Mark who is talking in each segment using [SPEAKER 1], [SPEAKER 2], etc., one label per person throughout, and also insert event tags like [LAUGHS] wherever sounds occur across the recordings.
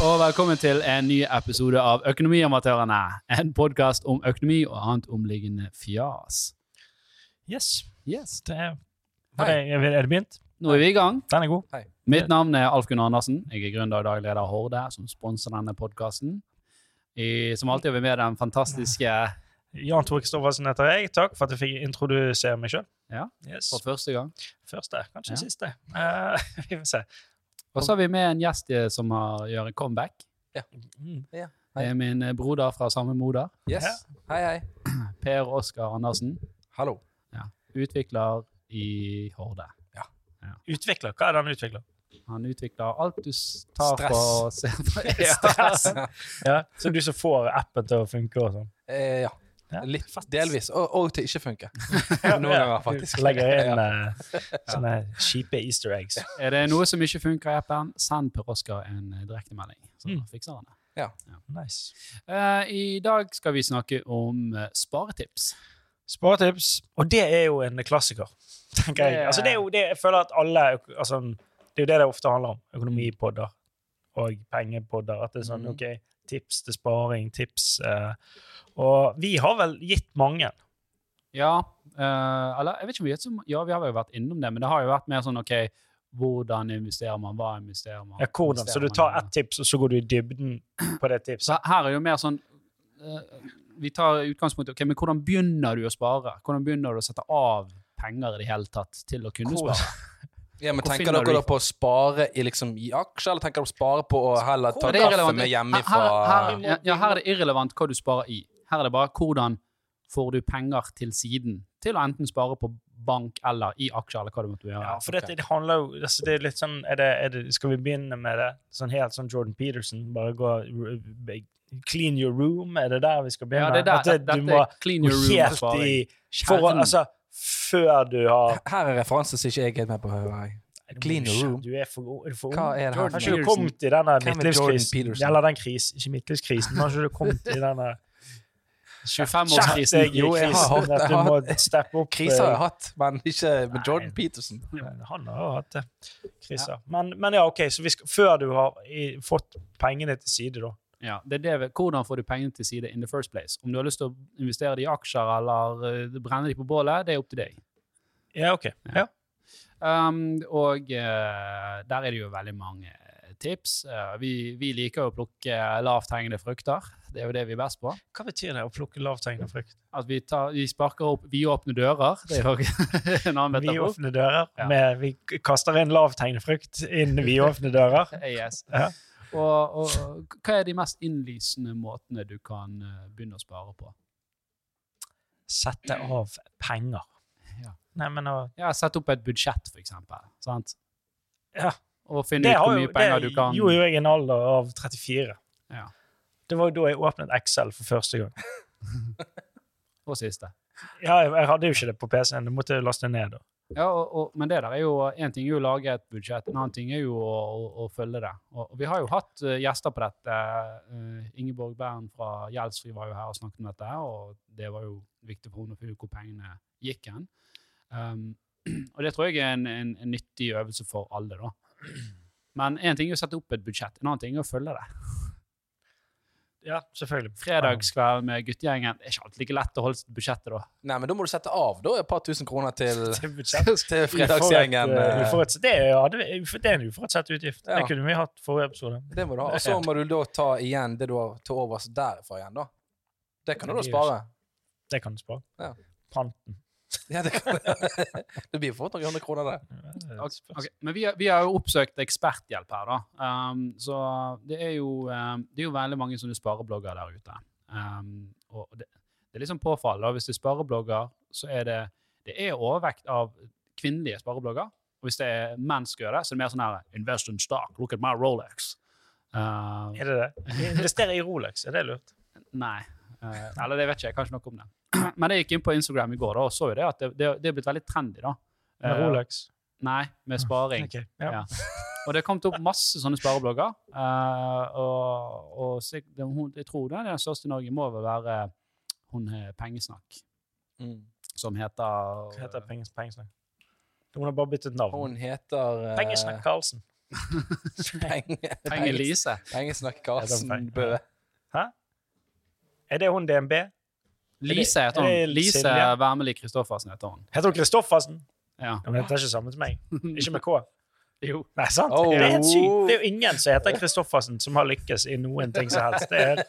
[SPEAKER 1] og velkommen til en ny episode av Økonomiamatørene. En podkast om økonomi og annet omliggende fjas.
[SPEAKER 2] Yes.
[SPEAKER 1] Yes.
[SPEAKER 2] Det er, var det, er det begynt?
[SPEAKER 1] Nå er vi i gang.
[SPEAKER 2] Den er god.
[SPEAKER 1] Mitt navn er Alf Gunnar Andersen. Jeg er gründer og daglig leder av Horde, som sponser denne podkasten. Som alltid har vi med den fantastiske
[SPEAKER 2] Jan Tore Kristoffersen heter jeg. Takk for at jeg fikk introdusere meg sjøl.
[SPEAKER 1] Ja.
[SPEAKER 2] Yes.
[SPEAKER 1] for første gang.
[SPEAKER 2] Første, kanskje
[SPEAKER 1] Ja.
[SPEAKER 2] siste. Eh, [LAUGHS] vi får se.
[SPEAKER 1] Og så har vi med en gjest eh, som har, gjør en comeback.
[SPEAKER 2] Mm.
[SPEAKER 1] Det er min eh, broder fra samme moder,
[SPEAKER 3] Yes. Hei, hei.
[SPEAKER 1] Per Oskar Andersen.
[SPEAKER 3] Hallo.
[SPEAKER 1] Utvikler i Horde.
[SPEAKER 2] Utvikler. Hva er det han utvikler?
[SPEAKER 1] Han utvikler alt du s- tar
[SPEAKER 3] Stress.
[SPEAKER 1] på ser-
[SPEAKER 2] [LAUGHS]
[SPEAKER 1] Ja.
[SPEAKER 2] Stress.
[SPEAKER 1] [LAUGHS]
[SPEAKER 2] Ja. Så du som får appen til å funke og sånn?
[SPEAKER 3] Eh, ja.
[SPEAKER 2] Ja.
[SPEAKER 3] Litt delvis, og, og til ikke funke. Noen
[SPEAKER 2] Ja,
[SPEAKER 3] ganger, faktisk.
[SPEAKER 2] Du legger
[SPEAKER 3] [LAUGHS]
[SPEAKER 2] inn eh, sånne kjipe easter eggs.
[SPEAKER 1] Er det noe som ikke funker i appen, send Per Oskar en eh, direktemelding. Så
[SPEAKER 2] Mm.
[SPEAKER 1] fikser han det.
[SPEAKER 2] Nice.
[SPEAKER 1] Eh, I dag skal vi snakke om eh, sparetips.
[SPEAKER 2] Sparetips. Og det er jo en klassiker, tenker jeg. Altså, det er jo, det, jeg føler at alle altså, Det er jo det det ofte handler om. Økonomipodder og pengepodder. At det er sånn
[SPEAKER 3] Mhm.
[SPEAKER 2] OK, tips til sparing, tips eh, Og vi har vel gitt mange.
[SPEAKER 1] Ja, eh, eller jeg vet ikke om vi, vet så- ja, vi har vel vært innom det, men det har jo vært mer sånn OK, hvordan investerer man, hva investerer man?
[SPEAKER 2] Ja, hvordan,
[SPEAKER 1] investerer
[SPEAKER 2] så du
[SPEAKER 1] man
[SPEAKER 2] tar
[SPEAKER 1] i-
[SPEAKER 2] ett tips, og så går du i dybden på det tipset.
[SPEAKER 1] Så her er jo mer sånn eh, Vi tar utgangspunkt i ok, men hvordan begynner du å spare? Hvordan begynner du å sette av penger i det hele tatt til å kunne
[SPEAKER 2] Hvor-
[SPEAKER 1] spare?
[SPEAKER 3] Ja, men
[SPEAKER 1] Hvor
[SPEAKER 3] Tenker
[SPEAKER 1] finner du
[SPEAKER 3] dere da på å spare i, liksom, i aksjer, eller tenker dere å spare på å heller ta
[SPEAKER 1] Det er
[SPEAKER 3] kaffe
[SPEAKER 1] irrelevant.
[SPEAKER 3] med
[SPEAKER 1] Her, her,
[SPEAKER 3] hjemmefra?
[SPEAKER 1] her, ja, her er det irrelevant hva du sparer i. Her er det bare hvordan får du penger til siden til å enten spare på bank eller i aksjer eller hva du måtte gjøre.
[SPEAKER 2] Ja, for dette, det handler jo altså det er litt sånn, er det, er det, Skal vi begynne med det sånn helt sånn Jordan Peterson? Bare gå r- Clean your room? Er det der vi skal
[SPEAKER 1] Ja,
[SPEAKER 2] begynne?
[SPEAKER 1] det er der,
[SPEAKER 2] At det-
[SPEAKER 1] dette
[SPEAKER 2] du må
[SPEAKER 1] er clean
[SPEAKER 2] gå
[SPEAKER 1] your room
[SPEAKER 2] helt
[SPEAKER 1] sparing.
[SPEAKER 2] i for,
[SPEAKER 1] Kjernen.
[SPEAKER 2] altså, Før du har
[SPEAKER 3] Her er referanser som ikke jeg er helt med på. hører jeg. Clean your room.
[SPEAKER 2] Du er for, god- er du for ung.
[SPEAKER 3] Hva er
[SPEAKER 1] Jordan
[SPEAKER 3] det her?
[SPEAKER 2] Har
[SPEAKER 3] for noe?
[SPEAKER 2] ikke du
[SPEAKER 1] Peterson.
[SPEAKER 2] kommet i denne
[SPEAKER 3] Hvem er Jordan
[SPEAKER 2] midtlivskrisen?
[SPEAKER 3] Peterson?
[SPEAKER 2] Eller den krisen, ikke midtlivskrisen, men har ikke du kommet i denne
[SPEAKER 1] 25-årskrisen.
[SPEAKER 2] Skjerp deg i
[SPEAKER 3] Jo, jeg har
[SPEAKER 2] krisen,
[SPEAKER 3] hatt-
[SPEAKER 2] at
[SPEAKER 3] jeg har
[SPEAKER 2] Du må
[SPEAKER 3] hatt-
[SPEAKER 2] steppe opp.
[SPEAKER 3] Kriser har
[SPEAKER 2] eh,
[SPEAKER 3] jeg hatt, men ikke
[SPEAKER 2] Nei.
[SPEAKER 3] med Jordan Peterson.
[SPEAKER 2] Men Han har jo hatt det. Kriser. Men, men ja, OK, så vi skal, før du har i, fått pengene til side, da
[SPEAKER 1] Ja, det er det, vi- hvordan får du pengene til side in the first place? Om du har lyst til å investere det i aksjer eller eh, brenne de på bålet, det er opp til deg.
[SPEAKER 2] Ja, OK. Ja.
[SPEAKER 1] Um, og eh, der er det jo veldig mange tips. Eh, vi, vi liker jo å plukke eh, lavthengende frukter. Det er jo det vi er best på.
[SPEAKER 2] Hva betyr det å plukke lavthengende frukt?
[SPEAKER 1] At vi, tar, vi sparker opp vidåpne dører. Det er jo [LAUGHS] en annen
[SPEAKER 2] Vi
[SPEAKER 1] metafor.
[SPEAKER 2] åpner dører.
[SPEAKER 1] Ja.
[SPEAKER 2] Med, vi k- kaster inn lavthengende frukt inn vi åpner dører.
[SPEAKER 1] AS.
[SPEAKER 2] Ja.
[SPEAKER 1] Eh, Og, og hva er de mest innlysende måtene du kan eh, begynne å spare på?
[SPEAKER 2] Sette av penger.
[SPEAKER 1] Ja.
[SPEAKER 2] Nei, men å
[SPEAKER 1] Ja, Sett opp et budsjett, for eksempel. Sant?
[SPEAKER 2] Ja.
[SPEAKER 1] Og finne
[SPEAKER 2] Det,
[SPEAKER 1] ut
[SPEAKER 2] har
[SPEAKER 1] hvor
[SPEAKER 2] jo,
[SPEAKER 1] mye
[SPEAKER 2] det
[SPEAKER 1] penger du kan
[SPEAKER 2] gjorde jo jeg i en alder av 34.
[SPEAKER 1] Ja.
[SPEAKER 2] Det var jo da jeg åpnet Excel for første gang.
[SPEAKER 1] Og siste.
[SPEAKER 2] Ja, jeg, jeg hadde jo ikke det på PC-en. Du måtte jeg laste det ned. da.
[SPEAKER 1] Ja, og, og, men det der er jo en ting er jo å lage et budsjett, en annen ting er jo å, å, å følge det. Og, og vi har jo hatt eh, gjester på dette. Eh, Ingeborg Bern fra Gjeldsfri var jo her og snakket om dette, og det var jo viktig for henne å finne ut hvor pengene gikk hen. Um, [CLEARS THROAT] og det tror jeg er en, en, en nyttig øvelse for alle, da. Men én ting er å sette opp et budsjett, en annen ting er å følge det.
[SPEAKER 2] Ja, [LAUGHS] selvfølgelig.
[SPEAKER 1] Fredagskveld med guttegjengen det er ikke alltid like lett å holde seg til budsjettet da.
[SPEAKER 3] Nei, men da må du sette av da et par tusen kroner til,
[SPEAKER 2] [LAUGHS] Til budsjett.
[SPEAKER 3] til [LAUGHS] fredagsgjengen.
[SPEAKER 2] Uforutsett-
[SPEAKER 3] eh,
[SPEAKER 2] uforutsett- det, er- ja, det, er- ufor- det er en uforutsett utgift.
[SPEAKER 3] Ja.
[SPEAKER 2] Det kunne vi hatt forrige episode.
[SPEAKER 3] Det må du ha. Og så må du da ta igjen det du har til overs derfra igjen, da. Det kan du da
[SPEAKER 2] Det blir jo
[SPEAKER 3] spare.
[SPEAKER 2] Det kan du spare.
[SPEAKER 3] Ja.
[SPEAKER 2] Panten.
[SPEAKER 3] Ja, det, kan. [LAUGHS] det blir fort noen hundre kroner, det.
[SPEAKER 2] Eh,
[SPEAKER 1] Ok, ok. Men vi, har- vi har jo oppsøkt eksperthjelp her, da. Um, så det er, jo, um, det er jo veldig mange sånne spareblogger der ute. Um, og det, det er liksom påfallende. da. Hvis det er spareblogger, så er det, det er overvekt av kvinnelige spareblogger. Og hvis det er menn som gjør det, så er det mer sånn her Invest in stock, look at my Rolex. Uh,
[SPEAKER 2] Er det det? Investere i Rolex, er det lurt?
[SPEAKER 1] Nei. Eh, eller det vet ikke jeg. Kanskje noe om det. [CLEARS THROAT] Men jeg gikk inn på Instagram i går da, og så jo det at det, det, det er blitt veldig trendy. da.
[SPEAKER 2] Med
[SPEAKER 1] Eh,
[SPEAKER 2] Rolex?
[SPEAKER 1] Nei, med sparing.
[SPEAKER 2] Ok, ja.
[SPEAKER 1] Ja. Og det har kommet opp masse sånne spareblogger. eh, og og sik- den- hun, jeg tror den er den største i Norge må vel være hun har Pengesnakk,
[SPEAKER 3] Mm.
[SPEAKER 1] som heter eh,
[SPEAKER 2] Hva heter penges, pengesnakk? Hun har bare byttet navn.
[SPEAKER 3] Hun heter eh,
[SPEAKER 2] Pengesnakk Karlsen.
[SPEAKER 3] Penge-
[SPEAKER 1] Penge-Lise.
[SPEAKER 2] Ja,
[SPEAKER 3] Pengesnakk
[SPEAKER 2] den
[SPEAKER 3] Karsten
[SPEAKER 2] peng-
[SPEAKER 3] Bø.
[SPEAKER 2] Er det hun DNB?
[SPEAKER 1] Lise heter
[SPEAKER 2] er
[SPEAKER 1] hun.
[SPEAKER 2] det
[SPEAKER 1] Lise
[SPEAKER 2] Silje?
[SPEAKER 1] Wermelid Kristoffersen heter hun.
[SPEAKER 2] Heter hun Kristoffersen?
[SPEAKER 1] Ja.
[SPEAKER 2] Ja, men det er ikke samme til meg. [LAUGHS] Ikke med K.
[SPEAKER 1] Jo.
[SPEAKER 2] Nei, sant?
[SPEAKER 3] Oh.
[SPEAKER 2] Det er helt sykt. Det er jo ingen som heter Kristoffersen som har lykkes i noen ting som helst. Det, er,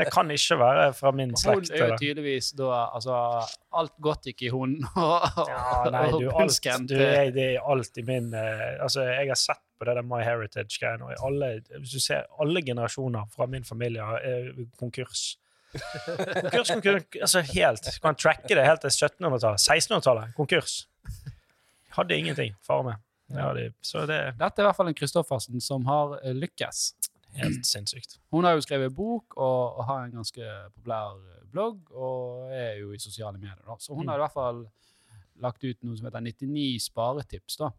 [SPEAKER 2] det kan ikke være fra min
[SPEAKER 1] Hun
[SPEAKER 2] slekt.
[SPEAKER 1] er jo
[SPEAKER 2] eller?
[SPEAKER 1] tydeligvis da Altså, alt godt gikk i hunden [LAUGHS] og,
[SPEAKER 2] Ja,
[SPEAKER 1] [LAUGHS]
[SPEAKER 2] nei,
[SPEAKER 1] og
[SPEAKER 2] du, alt,
[SPEAKER 1] pulsken
[SPEAKER 2] du
[SPEAKER 1] til-
[SPEAKER 2] er, det er alt i min eh, Altså, jeg har sett på det der My Heritage-greiene, og i alle, hvis du ser alle generasjoner fra min familie er konkurs. Konkurs, konkurs, altså helt. Du kan tracke det helt til 1700-tallet. 1600-tallet, konkurs. Jeg hadde ingenting, far meg. Jeg hadde- så det er
[SPEAKER 1] Dette er i hvert fall en Kristoffersen som har eh, lykkes.
[SPEAKER 2] helt sinnssykt.
[SPEAKER 1] Hun har jo skrevet bok og, og har en ganske populær eh, blogg, og er jo i sosiale medier. da. Så hun har i hvert fall lagt ut noe som heter 99 sparetips. da.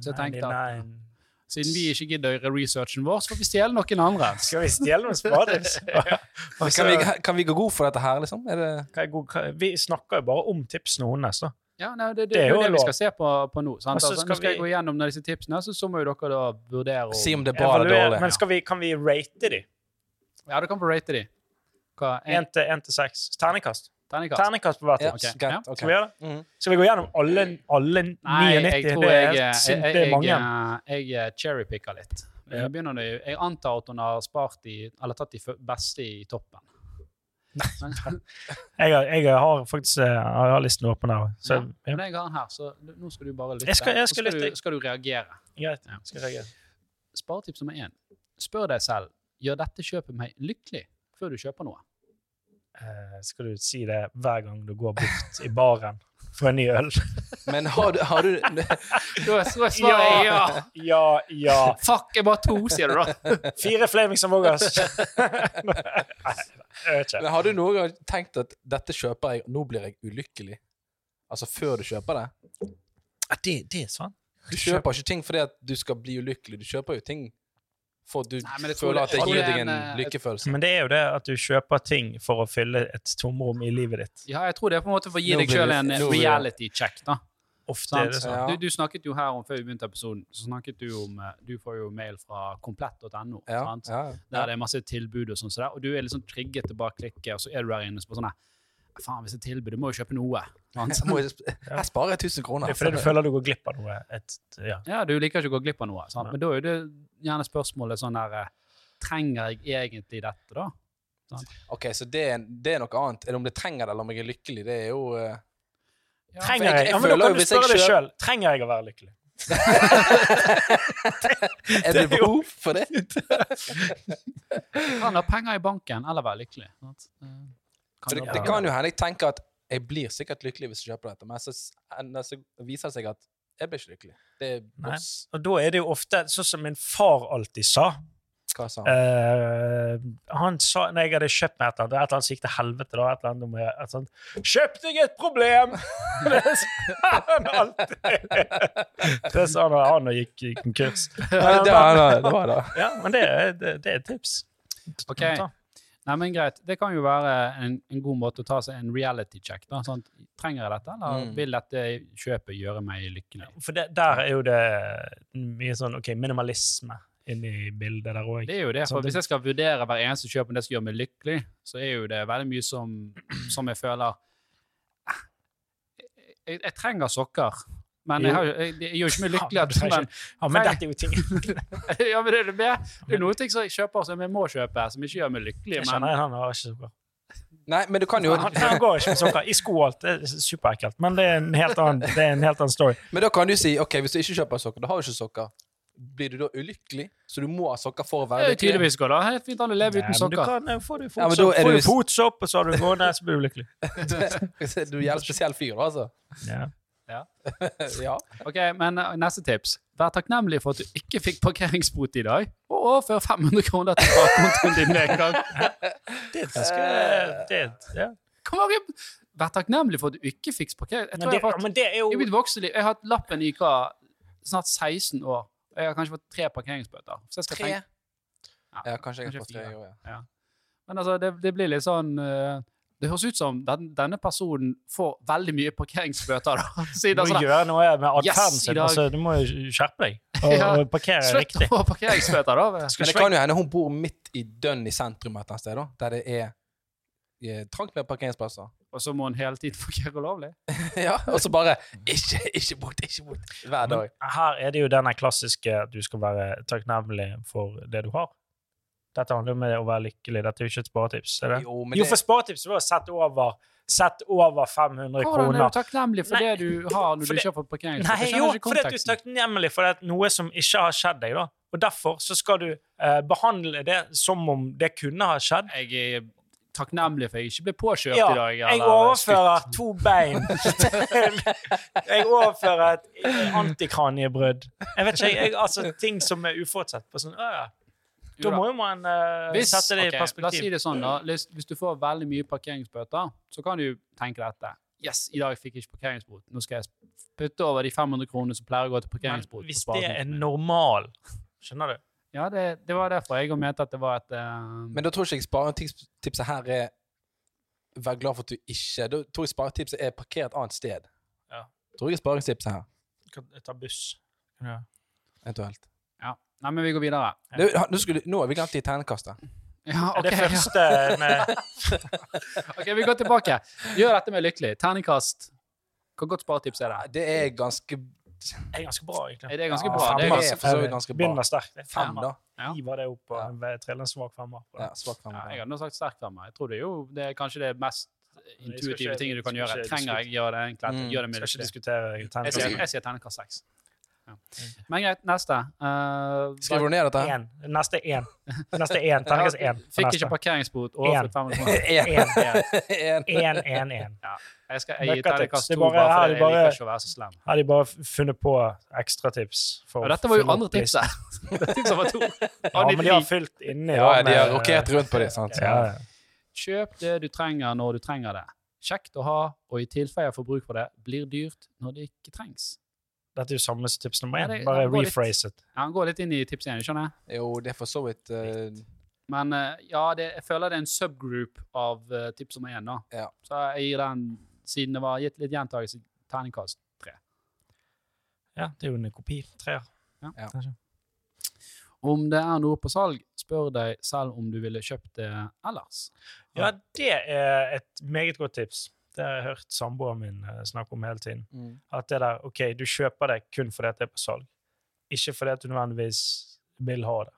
[SPEAKER 1] Så jeg tenkte at
[SPEAKER 2] Nei, nei.
[SPEAKER 1] siden vi ikke gidder å gjøre researchen vår, så får vi stjele noen andre.
[SPEAKER 2] Skal vi stjele noen spaders? Og så-
[SPEAKER 3] Kan vi, kan vi gå god for dette her, liksom? Er det
[SPEAKER 2] Hva er god- hva- Vi snakker jo bare om tipsene hennes, da.
[SPEAKER 1] Ja, nei, det, det,
[SPEAKER 2] Det er
[SPEAKER 1] er jo
[SPEAKER 2] jo
[SPEAKER 1] det vi
[SPEAKER 2] lov.
[SPEAKER 1] skal se på, på nå. sant?
[SPEAKER 2] Og så
[SPEAKER 1] Altså,
[SPEAKER 2] skal
[SPEAKER 1] nå skal jeg
[SPEAKER 2] vi-
[SPEAKER 1] gå gjennom disse tipsene, så, så må jo dere da vurdere om
[SPEAKER 3] Si om det er bra eller
[SPEAKER 2] Evaluer,
[SPEAKER 3] dårlig.
[SPEAKER 2] men skal vi, kan vi rate de?
[SPEAKER 1] Ja, du kan få rate de. Hva, en
[SPEAKER 2] Én til én til seks. Terningkast.
[SPEAKER 1] terningkast?
[SPEAKER 2] Terningkast på hvert
[SPEAKER 3] Ja,
[SPEAKER 2] tips.
[SPEAKER 1] ok. Ja.
[SPEAKER 3] greit. ok.
[SPEAKER 2] Skal vi gjøre det?
[SPEAKER 3] Mhm.
[SPEAKER 2] Skal vi gå gjennom alle, alle 99?
[SPEAKER 1] Nei, jeg tror
[SPEAKER 2] det er
[SPEAKER 1] jeg,
[SPEAKER 2] helt
[SPEAKER 1] jeg,
[SPEAKER 2] sint, det er
[SPEAKER 1] jeg, eh,
[SPEAKER 2] mange.
[SPEAKER 1] jeg, jeg cherrypicker litt.
[SPEAKER 2] Ja.
[SPEAKER 1] Jeg, begynner, nå- jeg antar at hun har spart i, eller tatt de fø- beste i toppen.
[SPEAKER 2] Jeg, har- jeg har faktisk eh, jeg har listen åpen her. Så,
[SPEAKER 1] ja.
[SPEAKER 2] ja.
[SPEAKER 1] Men jeg har den her, så du- nå skal du bare lytte.
[SPEAKER 2] Jeg skal- jeg
[SPEAKER 1] Så
[SPEAKER 2] skal lytte.
[SPEAKER 1] Du, skal du reagere.
[SPEAKER 2] Greit.
[SPEAKER 1] Ja.
[SPEAKER 2] Skal jeg
[SPEAKER 1] Sparetips nummer én. Spør deg selv gjør dette kjøpet meg lykkelig før du kjøper noe.
[SPEAKER 2] eh, skal du si det hver gang du går bort i baren for en ny øl?
[SPEAKER 3] Men har du, har du [LAUGHS]
[SPEAKER 1] Da svarer jeg ja!
[SPEAKER 2] [LAUGHS] ja, ja.
[SPEAKER 1] Fuck, jeg bare to, sier du da.
[SPEAKER 2] Fire Flamings and [LAUGHS] Voggers. Nei, jeg vet ikke.
[SPEAKER 3] Men har du noen gang tenkt at dette kjøper jeg, nå blir jeg ulykkelig? Altså før du kjøper det?
[SPEAKER 2] Det, det er sant.
[SPEAKER 3] Du kjøper ikke ting fordi at du skal bli ulykkelig, du kjøper jo ting for at du
[SPEAKER 1] Nei, men jeg tror
[SPEAKER 3] føler at
[SPEAKER 1] det-
[SPEAKER 3] det
[SPEAKER 1] jeg
[SPEAKER 3] gir
[SPEAKER 1] tror
[SPEAKER 3] deg
[SPEAKER 1] det er
[SPEAKER 3] en
[SPEAKER 1] en, eh,
[SPEAKER 3] lykkefølelse.
[SPEAKER 2] Men det er jo det at du kjøper ting for å fylle et tomrom i livet ditt.
[SPEAKER 1] Ja, jeg tror det er på en måte for å gi
[SPEAKER 3] Nå
[SPEAKER 1] deg
[SPEAKER 3] blir
[SPEAKER 1] sjøl
[SPEAKER 3] det-
[SPEAKER 1] en
[SPEAKER 3] nå blir det-
[SPEAKER 1] reality check, da.
[SPEAKER 2] Ofte er
[SPEAKER 1] Sant?
[SPEAKER 2] det sånn.
[SPEAKER 3] Ja.
[SPEAKER 1] Du, du snakket jo her om før vi begynte episoden, så snakket du om eh, Du får jo mail fra komplett.no.
[SPEAKER 3] Ja,
[SPEAKER 1] sant?
[SPEAKER 3] ja.
[SPEAKER 1] Der det er masse tilbud og sånn, så der, og du er liksom trigget til bare å klikke, og så er du der inne og spør sånn her Faen, hvis det er tilbud, du må jo kjøpe noe. sant?
[SPEAKER 3] Jeg, [LAUGHS] må, jo sp- jeg sparer 1000 kroner. altså.
[SPEAKER 2] Det er fordi du føler du går glipp av noe. Et, ja.
[SPEAKER 1] Ja, du liker ikke å gå glipp av noe, sant? men da er jo det gjerne spørsmålet sånn der eh, Trenger jeg egentlig dette, da?
[SPEAKER 3] Ok, Så det er, det er noe annet enn om det trenger det, eller om jeg er lykkelig. Det er jo eh,
[SPEAKER 1] Ja,
[SPEAKER 2] Trenger
[SPEAKER 3] for jeg-
[SPEAKER 2] jeg,
[SPEAKER 3] jeg
[SPEAKER 2] ja, men da
[SPEAKER 3] føler jo
[SPEAKER 2] kan du
[SPEAKER 3] hvis jeg
[SPEAKER 2] spørre deg
[SPEAKER 3] kjøper-
[SPEAKER 2] sjøl. Trenger jeg å være lykkelig?
[SPEAKER 3] Er det behov for det?
[SPEAKER 1] Jeg kan ha penger i banken eller være lykkelig. Sant? Eh,
[SPEAKER 3] For Altså, det,
[SPEAKER 1] være-
[SPEAKER 3] det kan jo hende jeg tenker at jeg blir sikkert lykkelig hvis jeg kjøper dette, men så, s- ender- så viser det seg at jeg blir ikke lykkelig. Det er
[SPEAKER 2] Nei.
[SPEAKER 3] boss.
[SPEAKER 2] Og da er det jo ofte sånn som min far alltid sa.
[SPEAKER 3] Hva sa han?
[SPEAKER 2] Eh, han sa når jeg hadde kjøpt meg et eller annet, et eller annet som gikk til helvete da, et eller annet, om jeg- et eller annet Kjøp deg et problem! [LAUGHS] det sa han alltid. Det sa han da han gikk i [LAUGHS] konkurs.
[SPEAKER 3] Ja, det var det. det, var det.
[SPEAKER 2] Ja, men det, er- det, det er et tips.
[SPEAKER 1] Ok. Nei, men greit. Det kan jo være en, en god måte å ta seg en reality check. Da. Sånn, trenger jeg dette, eller
[SPEAKER 3] Mm.
[SPEAKER 1] vil dette kjøpet gjøre meg lykkelig?
[SPEAKER 2] For det, der er jo det mye sånn ok, minimalisme inni bildet der òg.
[SPEAKER 1] Det er jo det,
[SPEAKER 2] Så
[SPEAKER 1] for
[SPEAKER 2] Sånn, det-
[SPEAKER 1] Hvis jeg skal vurdere hver eneste kjøp om det skal gjøre meg lykkelig, så er jo det veldig mye som, som jeg føler eh, jeg, jeg trenger sokker, men jeg, har, jo- jeg, det gjør jo ikke meg
[SPEAKER 2] [LAUGHS]
[SPEAKER 1] lykkelig. At, sånn men,
[SPEAKER 2] Ja, men dette er jo ting Jeg
[SPEAKER 1] [LAUGHS] ja, men det, er det, mer- det er noen ting som jeg kjøper som jeg må kjøpe, som ikke gjør meg lykkelig. Men
[SPEAKER 2] kjenner han har ikke sokker.
[SPEAKER 3] Nei, men du kan jo
[SPEAKER 2] Han, han går ikke med sokker. I sko og alt. Det er superekkelt. Men det er en helt annen, det er en helt annen story.
[SPEAKER 3] Men da kan du si ok, hvis du ikke kjøper sokker, da har du ikke sokker. Blir du da ulykkelig? Så du må ha sokker for å
[SPEAKER 1] det
[SPEAKER 3] være
[SPEAKER 1] er jo tydeligvis går det helt fint an å leve uten
[SPEAKER 2] Nei, men du
[SPEAKER 1] sokker.
[SPEAKER 2] kan, eh, får du
[SPEAKER 3] Ja, men da
[SPEAKER 2] fotsopp,
[SPEAKER 3] er
[SPEAKER 2] får
[SPEAKER 3] du-
[SPEAKER 2] du fotsopp, og så har du gående, så blir du lykkelig.
[SPEAKER 3] lykkelig? [LAUGHS] du er en jævlig spesiell fyr, da, altså.
[SPEAKER 2] Ja.
[SPEAKER 3] Ja.
[SPEAKER 1] Ok, men eh, neste tips. Vær takknemlig for at du ikke fikk parkeringsbot i dag, og overfør 500 kroner til bakkontoen din med en gang.
[SPEAKER 2] Det er et ganske det, er- ja.
[SPEAKER 1] Kom igjen! Vær takknemlig for at du ikke fikk parkering. Jeg
[SPEAKER 2] men,
[SPEAKER 1] tror
[SPEAKER 2] det,
[SPEAKER 1] jeg har fått,
[SPEAKER 2] men det er jo
[SPEAKER 1] i mitt voksenliv, jeg har hatt lappen i hva, snart 16 år, og jeg har kanskje fått tre parkeringsbøter. Så jeg skal
[SPEAKER 3] Tre.
[SPEAKER 1] tenke,
[SPEAKER 3] Ja, kanskje jeg
[SPEAKER 1] Kanskje
[SPEAKER 3] har fått tre
[SPEAKER 1] fire.
[SPEAKER 3] år, ja.
[SPEAKER 1] men altså, det, det blir litt sånn... eh, det høres ut som den, denne personen får veldig mye parkeringsbøter da. [LAUGHS] Siden
[SPEAKER 2] Du
[SPEAKER 1] sånn
[SPEAKER 2] må gjøre noe med atferden
[SPEAKER 1] Yes, i
[SPEAKER 2] sin.
[SPEAKER 1] dag.
[SPEAKER 2] Altså, du må jo skjerpe deg. og,
[SPEAKER 1] Ja.
[SPEAKER 2] og [LAUGHS] parkere
[SPEAKER 1] Slutt
[SPEAKER 2] riktig.
[SPEAKER 1] å parkeringsbøter, da.
[SPEAKER 2] Skal
[SPEAKER 3] Men det
[SPEAKER 2] svinge-
[SPEAKER 3] kan jo hende hun bor midt i dønn i sentrum et eller annet sted, da, der det er eh, trangt med parkeringsplasser.
[SPEAKER 1] Og så må en hele tiden parkere ulovlig.
[SPEAKER 3] ja, og så bare Ikke, ikke bort, ikke bort. Hver dag.
[SPEAKER 2] Men her er det jo denne klassiske at du skal være takknemlig for det du har. Dette handler jo om å være lykkelig. Dette er jo ikke et sparetips. Er det? Jo,
[SPEAKER 3] Jo, men det,
[SPEAKER 2] for sparetips var å sette over, sett over 500
[SPEAKER 1] Hvordan er
[SPEAKER 2] kroner.
[SPEAKER 1] du takknemlig for
[SPEAKER 2] Nei.
[SPEAKER 1] det du har når
[SPEAKER 2] For
[SPEAKER 1] du
[SPEAKER 2] det-
[SPEAKER 1] ikke har fått parkeringsbøter?
[SPEAKER 2] Nei,
[SPEAKER 1] Jeg skjønner
[SPEAKER 2] jo,
[SPEAKER 1] ikke
[SPEAKER 2] fordi at du er
[SPEAKER 1] konteksten.
[SPEAKER 2] takknemlig for at noe som ikke har skjedd deg. da. Og Derfor så skal du eh, behandle det som om det kunne ha skjedd.
[SPEAKER 1] Jeg er takknemlig for at jeg ikke ble påkjørt
[SPEAKER 2] Ja,
[SPEAKER 1] i dag.
[SPEAKER 2] jeg
[SPEAKER 1] eller
[SPEAKER 2] overfører
[SPEAKER 1] skutt.
[SPEAKER 2] to
[SPEAKER 1] [LAUGHS]
[SPEAKER 2] bein til Jeg overfører et antikraniebrudd. Jeg vet ikke, jeg, altså ting som er uforutsett. på sånn, øh,
[SPEAKER 1] Jo
[SPEAKER 2] Da
[SPEAKER 1] da.
[SPEAKER 2] må jo man eh,
[SPEAKER 1] Hvis,
[SPEAKER 2] sette det
[SPEAKER 1] ok,
[SPEAKER 2] i
[SPEAKER 1] la oss si
[SPEAKER 2] perspektiv.
[SPEAKER 1] det sånn da. Hvis, hvis du får veldig mye parkeringsbøter, så kan du tenke dette. Yes, i dag fikk jeg ikke parkeringsbot. Nå skal jeg putte over de 500 kronene som pleier å gå til
[SPEAKER 2] Men
[SPEAKER 1] parkeringsbot. på
[SPEAKER 2] hvis det
[SPEAKER 1] sparekontoen
[SPEAKER 2] er
[SPEAKER 1] min.
[SPEAKER 2] normal Skjønner du?
[SPEAKER 1] Ja, det, det var derfor jeg mente at det var et eh,
[SPEAKER 3] men da tror jeg ikke sparetipset her er Vær glad for at du ikke Da tror jeg sparetipset er parker et annet sted.
[SPEAKER 2] Ja.
[SPEAKER 3] Tror jeg er sparetipset her,
[SPEAKER 2] Du kan ta buss. Ja.
[SPEAKER 3] eventuelt.
[SPEAKER 1] ja. Nei, men vi går videre. [LAUGHS]
[SPEAKER 2] Ja.
[SPEAKER 3] Det, nå, skulle, nå har vi glemt de ternekastet.
[SPEAKER 1] Ja,
[SPEAKER 2] Er
[SPEAKER 1] ok,
[SPEAKER 2] det
[SPEAKER 1] ja.
[SPEAKER 2] første
[SPEAKER 1] [LAUGHS]
[SPEAKER 2] med
[SPEAKER 1] ok, vi går tilbake. Gjør dette med lykkelig. Terningkast. Hvor godt sparetips er det?
[SPEAKER 3] Nei, Det er ganske
[SPEAKER 2] Det er ganske bra, egentlig.
[SPEAKER 1] Er det er ganske
[SPEAKER 3] Ja,
[SPEAKER 1] bra. Det er
[SPEAKER 3] femmer.
[SPEAKER 1] ganske,
[SPEAKER 3] for så vidt ganske bra.
[SPEAKER 2] Begynner sterkt. Det er
[SPEAKER 3] fem,
[SPEAKER 2] Femmer.
[SPEAKER 3] da.
[SPEAKER 1] Ja.
[SPEAKER 2] Hiver det opp
[SPEAKER 3] Ja.
[SPEAKER 2] og triller en eh, svak femmer. på
[SPEAKER 3] Ja,
[SPEAKER 2] det.
[SPEAKER 3] svak fem.
[SPEAKER 1] ja, jeg hadde nå sagt sterkt av meg. Jeg tror det er jo det er kanskje det mest
[SPEAKER 2] skal
[SPEAKER 1] intuitive
[SPEAKER 2] ikke-
[SPEAKER 1] tinget du kan
[SPEAKER 2] skal
[SPEAKER 1] gjøre.
[SPEAKER 2] ikke
[SPEAKER 1] Trenger jeg gjøre det egentlig?
[SPEAKER 3] Mm.
[SPEAKER 1] Gjør det med
[SPEAKER 2] Skal ikke
[SPEAKER 1] lykkelig.
[SPEAKER 2] diskutere Mm.
[SPEAKER 1] Jeg sier,
[SPEAKER 2] tegneserien.
[SPEAKER 1] jeg sier terningkast seks. Ja. Men greit, neste. Eh,
[SPEAKER 3] Skriver du ned dette? her?
[SPEAKER 2] Én. Neste én. Neste
[SPEAKER 1] [LAUGHS]
[SPEAKER 2] én. Terningkast én. for
[SPEAKER 1] Fikk
[SPEAKER 2] neste.
[SPEAKER 1] ikke parkeringsbot. Overført 500 kroner.
[SPEAKER 3] En.
[SPEAKER 2] Én,
[SPEAKER 3] En.
[SPEAKER 2] én, én, én.
[SPEAKER 1] Ja, jeg skal jeg gir
[SPEAKER 2] Møkkatips.
[SPEAKER 1] terningkast
[SPEAKER 2] Det er
[SPEAKER 1] to,
[SPEAKER 2] bare-
[SPEAKER 1] bare
[SPEAKER 2] her er
[SPEAKER 1] fordi jeg
[SPEAKER 2] det bare-
[SPEAKER 1] liker ikke å være så slem.
[SPEAKER 2] Har de bare funnet på ekstratips?
[SPEAKER 1] Og dette var jo andre
[SPEAKER 2] [LAUGHS]
[SPEAKER 1] tipset. Det tipset var to.
[SPEAKER 2] Ja, men de har fylt inni.
[SPEAKER 3] [LAUGHS] Ja, ja,
[SPEAKER 2] da,
[SPEAKER 3] de har
[SPEAKER 2] med-
[SPEAKER 3] rokert rundt på det. sant?
[SPEAKER 2] Ja, ja.
[SPEAKER 1] Kjøp det du trenger når du trenger det. Kjekt å ha, og i tilfelle jeg får bruk for det, blir dyrt når det ikke trengs.
[SPEAKER 2] Dette er jo samme som tips nummer
[SPEAKER 1] Ja,
[SPEAKER 2] én.
[SPEAKER 1] det-
[SPEAKER 2] Bare
[SPEAKER 1] det går litt-
[SPEAKER 2] rephrase it.
[SPEAKER 1] Ja, han går litt inn i tips igjen, skjønner jeg.
[SPEAKER 3] Jo, det er for så vidt eh,
[SPEAKER 1] Men eh, ja, det, jeg føler det er en subgroup av eh, tips nummer én, da.
[SPEAKER 3] Ja.
[SPEAKER 1] Så jeg gir den, siden det var gitt litt gjentagelse, terningkast tre.
[SPEAKER 2] Ja, det er jo en kopi. Treer.
[SPEAKER 1] Om det er noe på salg, spør deg selv om du ville kjøpt det ellers.
[SPEAKER 2] Ja, det er et meget godt tips. Det har jeg hørt samboeren min eh, snakke om hele tiden.
[SPEAKER 3] mm.
[SPEAKER 2] At det der, ok, du kjøper det kun fordi at det er på salg. Ikke fordi at du nødvendigvis vil ha det.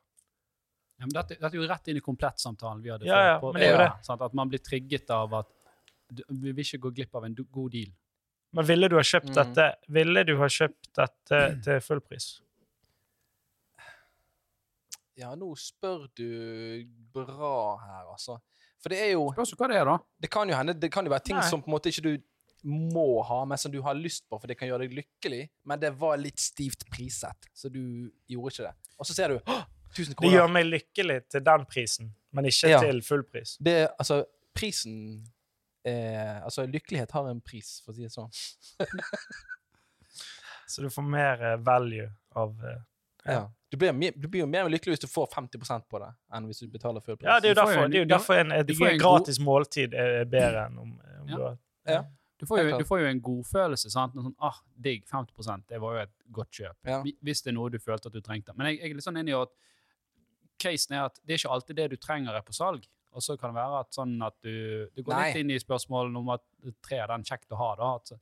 [SPEAKER 1] Ja, men dette, dette er jo rett inn i komplettsamtalen vi hadde
[SPEAKER 2] Ja,
[SPEAKER 1] før.
[SPEAKER 2] ja, men det er jo
[SPEAKER 1] ja, Sant? At man blir trigget av at du, vi vil ikke gå glipp av en do- god deal.
[SPEAKER 2] Men ville du ha kjøpt
[SPEAKER 3] Mm.
[SPEAKER 2] dette Ville du ha kjøpt dette til full pris?
[SPEAKER 3] Ja, nå spør du bra her, altså. For det er jo
[SPEAKER 1] Spørs jo hva det er, da.
[SPEAKER 3] Det kan jo hende, det kan jo være ting
[SPEAKER 2] Nei.
[SPEAKER 3] som på en måte ikke du må ha, men som du har lyst på, for det kan gjøre deg lykkelig. Men det var litt stivt prissatt, så du gjorde ikke det. Og så ser du «Åh, 1000
[SPEAKER 2] Det gjør
[SPEAKER 3] kroner.
[SPEAKER 2] meg lykkelig til den prisen, men ikke
[SPEAKER 3] Ja.
[SPEAKER 2] til full pris.
[SPEAKER 3] Det, altså, prisen eh, Altså, lykkelighet har en pris, for å si det sånn.
[SPEAKER 2] Så du får mer eh, value av eh, Ja.
[SPEAKER 3] Ja. Du, blir, mer- du blir jo mer lykkelig hvis du får 50 på det, enn hvis du betaler full pris.
[SPEAKER 2] Ja, det er jo
[SPEAKER 1] Du får jo
[SPEAKER 2] derfor,
[SPEAKER 1] en-
[SPEAKER 2] det er jo derfor en, et
[SPEAKER 1] du får en
[SPEAKER 2] gratis måltid er bedre enn om, eh, om
[SPEAKER 1] Ja.
[SPEAKER 2] du har
[SPEAKER 1] Du får,
[SPEAKER 3] Helt
[SPEAKER 1] jo,
[SPEAKER 3] klart.
[SPEAKER 1] du får jo en godfølelse. sant? Noe Sånn, ah, digg, 50 det var jo et godt kjøp.
[SPEAKER 3] Ja.
[SPEAKER 1] Hvi- Hvis det er noe du følte at du trengte. Men jeg, jeg er litt sånn enig i at casen er at det er ikke alltid det du trenger, er på salg. Og så kan det være at sånn at du Du går
[SPEAKER 3] Nei.
[SPEAKER 1] litt inn i spørsmålet om at tre er den kjekt å ha, da. At, så-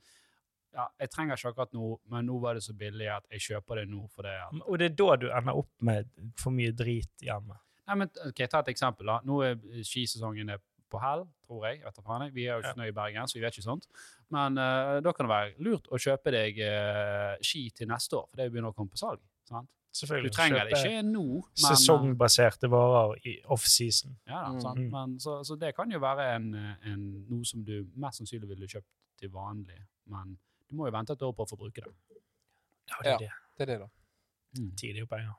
[SPEAKER 1] ja, jeg trenger ikke akkurat nå, men nå var det så billig at jeg kjøper det nå fordi at
[SPEAKER 2] Og det er da du ender opp med for mye drit hjemme.
[SPEAKER 1] Nei, men ok, Ta et eksempel. da. Nå er eh, skisesongen er på hell, tror jeg. vet du faen jeg. Vi er jo
[SPEAKER 2] Ja.
[SPEAKER 1] ikke nøye i Bergen, så vi vet ikke sånt. Men eh, da kan det være lurt å kjøpe deg eh, ski til neste år, for det begynner å komme på salg. sant? Du
[SPEAKER 2] Selvfølgelig.
[SPEAKER 1] trenger det ikke nå, men, eh,
[SPEAKER 2] Sesongbaserte varer i off-season.
[SPEAKER 1] Ja, da, sant?
[SPEAKER 2] Mm.
[SPEAKER 1] Men, så, så det kan jo være en, eh, en, noe som du mest sannsynlig ville kjøpt til vanlig, men du må jo vente et år på å få bruke det.
[SPEAKER 2] Ja, det
[SPEAKER 3] Ja.
[SPEAKER 2] er det.
[SPEAKER 3] Det er det, da.
[SPEAKER 2] Tid er jo penger.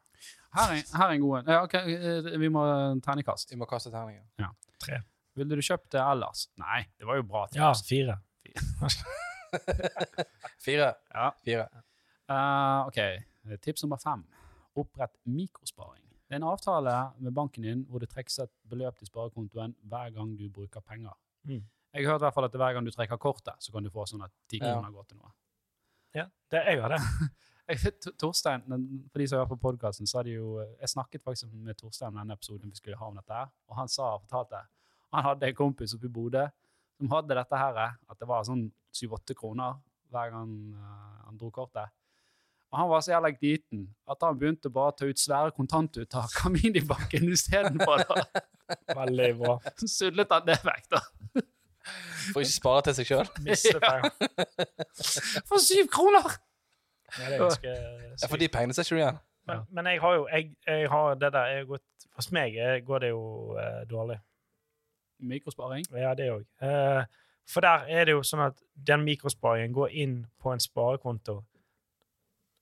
[SPEAKER 1] Her er, her er en god en. Ja, ok, eh, vi må terningkast.
[SPEAKER 3] Vi må kaste terninger.
[SPEAKER 1] Ville du kjøpt det ellers? Nei, det var jo bra. til
[SPEAKER 2] Ja,
[SPEAKER 1] oss.
[SPEAKER 2] fire.
[SPEAKER 3] Fire.
[SPEAKER 1] Ja.
[SPEAKER 3] Fire.
[SPEAKER 1] Eh, ok, tips nummer fem. Opprett mikrosparing. Det er en avtale med banken din hvor det trekkes et beløp til sparekontoen hver gang du bruker penger.
[SPEAKER 2] Mm.
[SPEAKER 1] Jeg har hørt i hvert fall at hver gang du trekker kortet, så kan du få sånn at 10
[SPEAKER 3] Ja.
[SPEAKER 1] kroner går til noe.
[SPEAKER 2] Ja, det er jeg har det.
[SPEAKER 1] [LAUGHS] Jeg- Tor- Torstein, men for de som hører på podcasten, så har de jo eh, Jeg snakket faktisk med Torstein om denne episoden vi skulle ha om dette her, og han sa fortalte Han hadde en kompis oppe i Bodø som hadde dette her, at det var sånn 7-8 kroner hver gang eh, han dro kortet. Og han var så jævla gliten at han begynte bare å ta ut svære kontantuttak av [LAUGHS] minibanken istedenfor. da. [LAUGHS]
[SPEAKER 2] Veldig bra.
[SPEAKER 1] Så sudlet han det vekk, da.
[SPEAKER 3] For ikke spare til seg sjøl.
[SPEAKER 2] Miste penger.
[SPEAKER 1] For syv kroner!
[SPEAKER 2] Ja, det er ganske
[SPEAKER 3] Ja, for de pengene ser ikke du igjen.
[SPEAKER 2] Men, men jeg har jo jeg, jeg har det der jeg har gått, Hos meg eh, går det jo eh, dårlig.
[SPEAKER 1] Mikrosparing.
[SPEAKER 2] Ja, det òg. Eh, for der er det jo sånn at den mikrosparingen går inn på en sparekonto.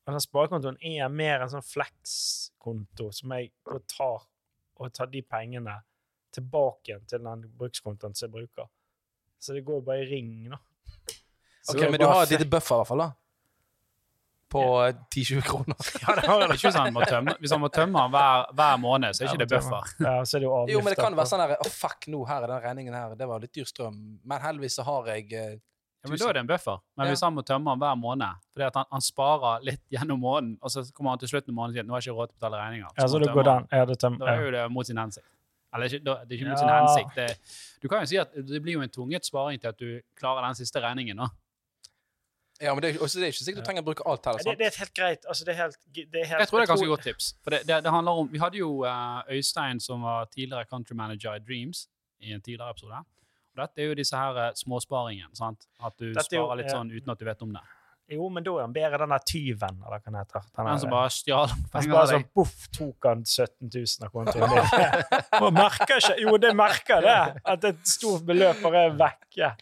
[SPEAKER 2] Og den sparekontoen er mer en sånn flekskonto som jeg da tar og tar de pengene tilbake igjen til den brukskontoen som jeg bruker. Så det går jo bare i ring, da. Så
[SPEAKER 3] Ok,
[SPEAKER 2] det er
[SPEAKER 3] Men du
[SPEAKER 2] bare
[SPEAKER 3] har et
[SPEAKER 2] flex-
[SPEAKER 3] lite buffer, i hvert fall. da. På eh, 10-20 kroner.
[SPEAKER 1] [LAUGHS] Ja, det har jeg ikke hvis han må tømme. Hvis han må tømme han hver, hver måned, så er ikke det buffer.
[SPEAKER 2] Ja, så er det jo avgifter.
[SPEAKER 3] Jo, men det kan
[SPEAKER 2] på-
[SPEAKER 3] være sånn der Å, fuck, nå her er den regningen her. Det var litt dyr strøm. Men heldigvis så har jeg eh,
[SPEAKER 1] Ja, men da er det en buffer. Men
[SPEAKER 3] Ja.
[SPEAKER 1] hvis han må tømme den hver måned, fordi at han, han sparer litt gjennom måneden, og så kommer han til slutten av måneden og sier nå har jeg ikke råd til å betale regninger.
[SPEAKER 2] Ja,
[SPEAKER 1] må
[SPEAKER 2] så
[SPEAKER 1] han
[SPEAKER 2] det går
[SPEAKER 1] tømme
[SPEAKER 2] den. Ja, det tøm-
[SPEAKER 1] Da
[SPEAKER 2] ja.
[SPEAKER 1] er jo det mot sin hensikt. Eller ikke, da, det er ikke mot sin
[SPEAKER 2] Ja.
[SPEAKER 1] hensikt. Det, du kan jo si at det blir jo en tvunget sparing til at du klarer den siste regningen. Da.
[SPEAKER 3] Ja, men det er, også, det er ikke sikkert du trenger å bruke alt heller.
[SPEAKER 2] Ja, det,
[SPEAKER 3] sant?
[SPEAKER 2] det er et helt greit altså, det er helt, det er helt,
[SPEAKER 1] Jeg tror det er et ganske godt tips. For det, det, det handler om, vi hadde jo eh, Øystein, som var tidligere country manager i Dreams, i en tidligere episode. Og dette er jo disse her eh, småsparingen. sant? At du
[SPEAKER 2] Dette er jo-
[SPEAKER 1] sparer litt
[SPEAKER 2] ja.
[SPEAKER 1] sånn uten at du vet om det.
[SPEAKER 2] Jo, men da er han bedre den der tyven, eller hva den heter. Den
[SPEAKER 1] Den
[SPEAKER 2] der-
[SPEAKER 1] som bare stjal
[SPEAKER 2] Han
[SPEAKER 1] penger
[SPEAKER 2] bare
[SPEAKER 1] av
[SPEAKER 2] sånn,
[SPEAKER 1] deg.
[SPEAKER 2] poff, tok han 17 000 av kontoen [LAUGHS] din. Man merker ikke, jo, det merker det, [LAUGHS] at et stort beløp bare er vekke.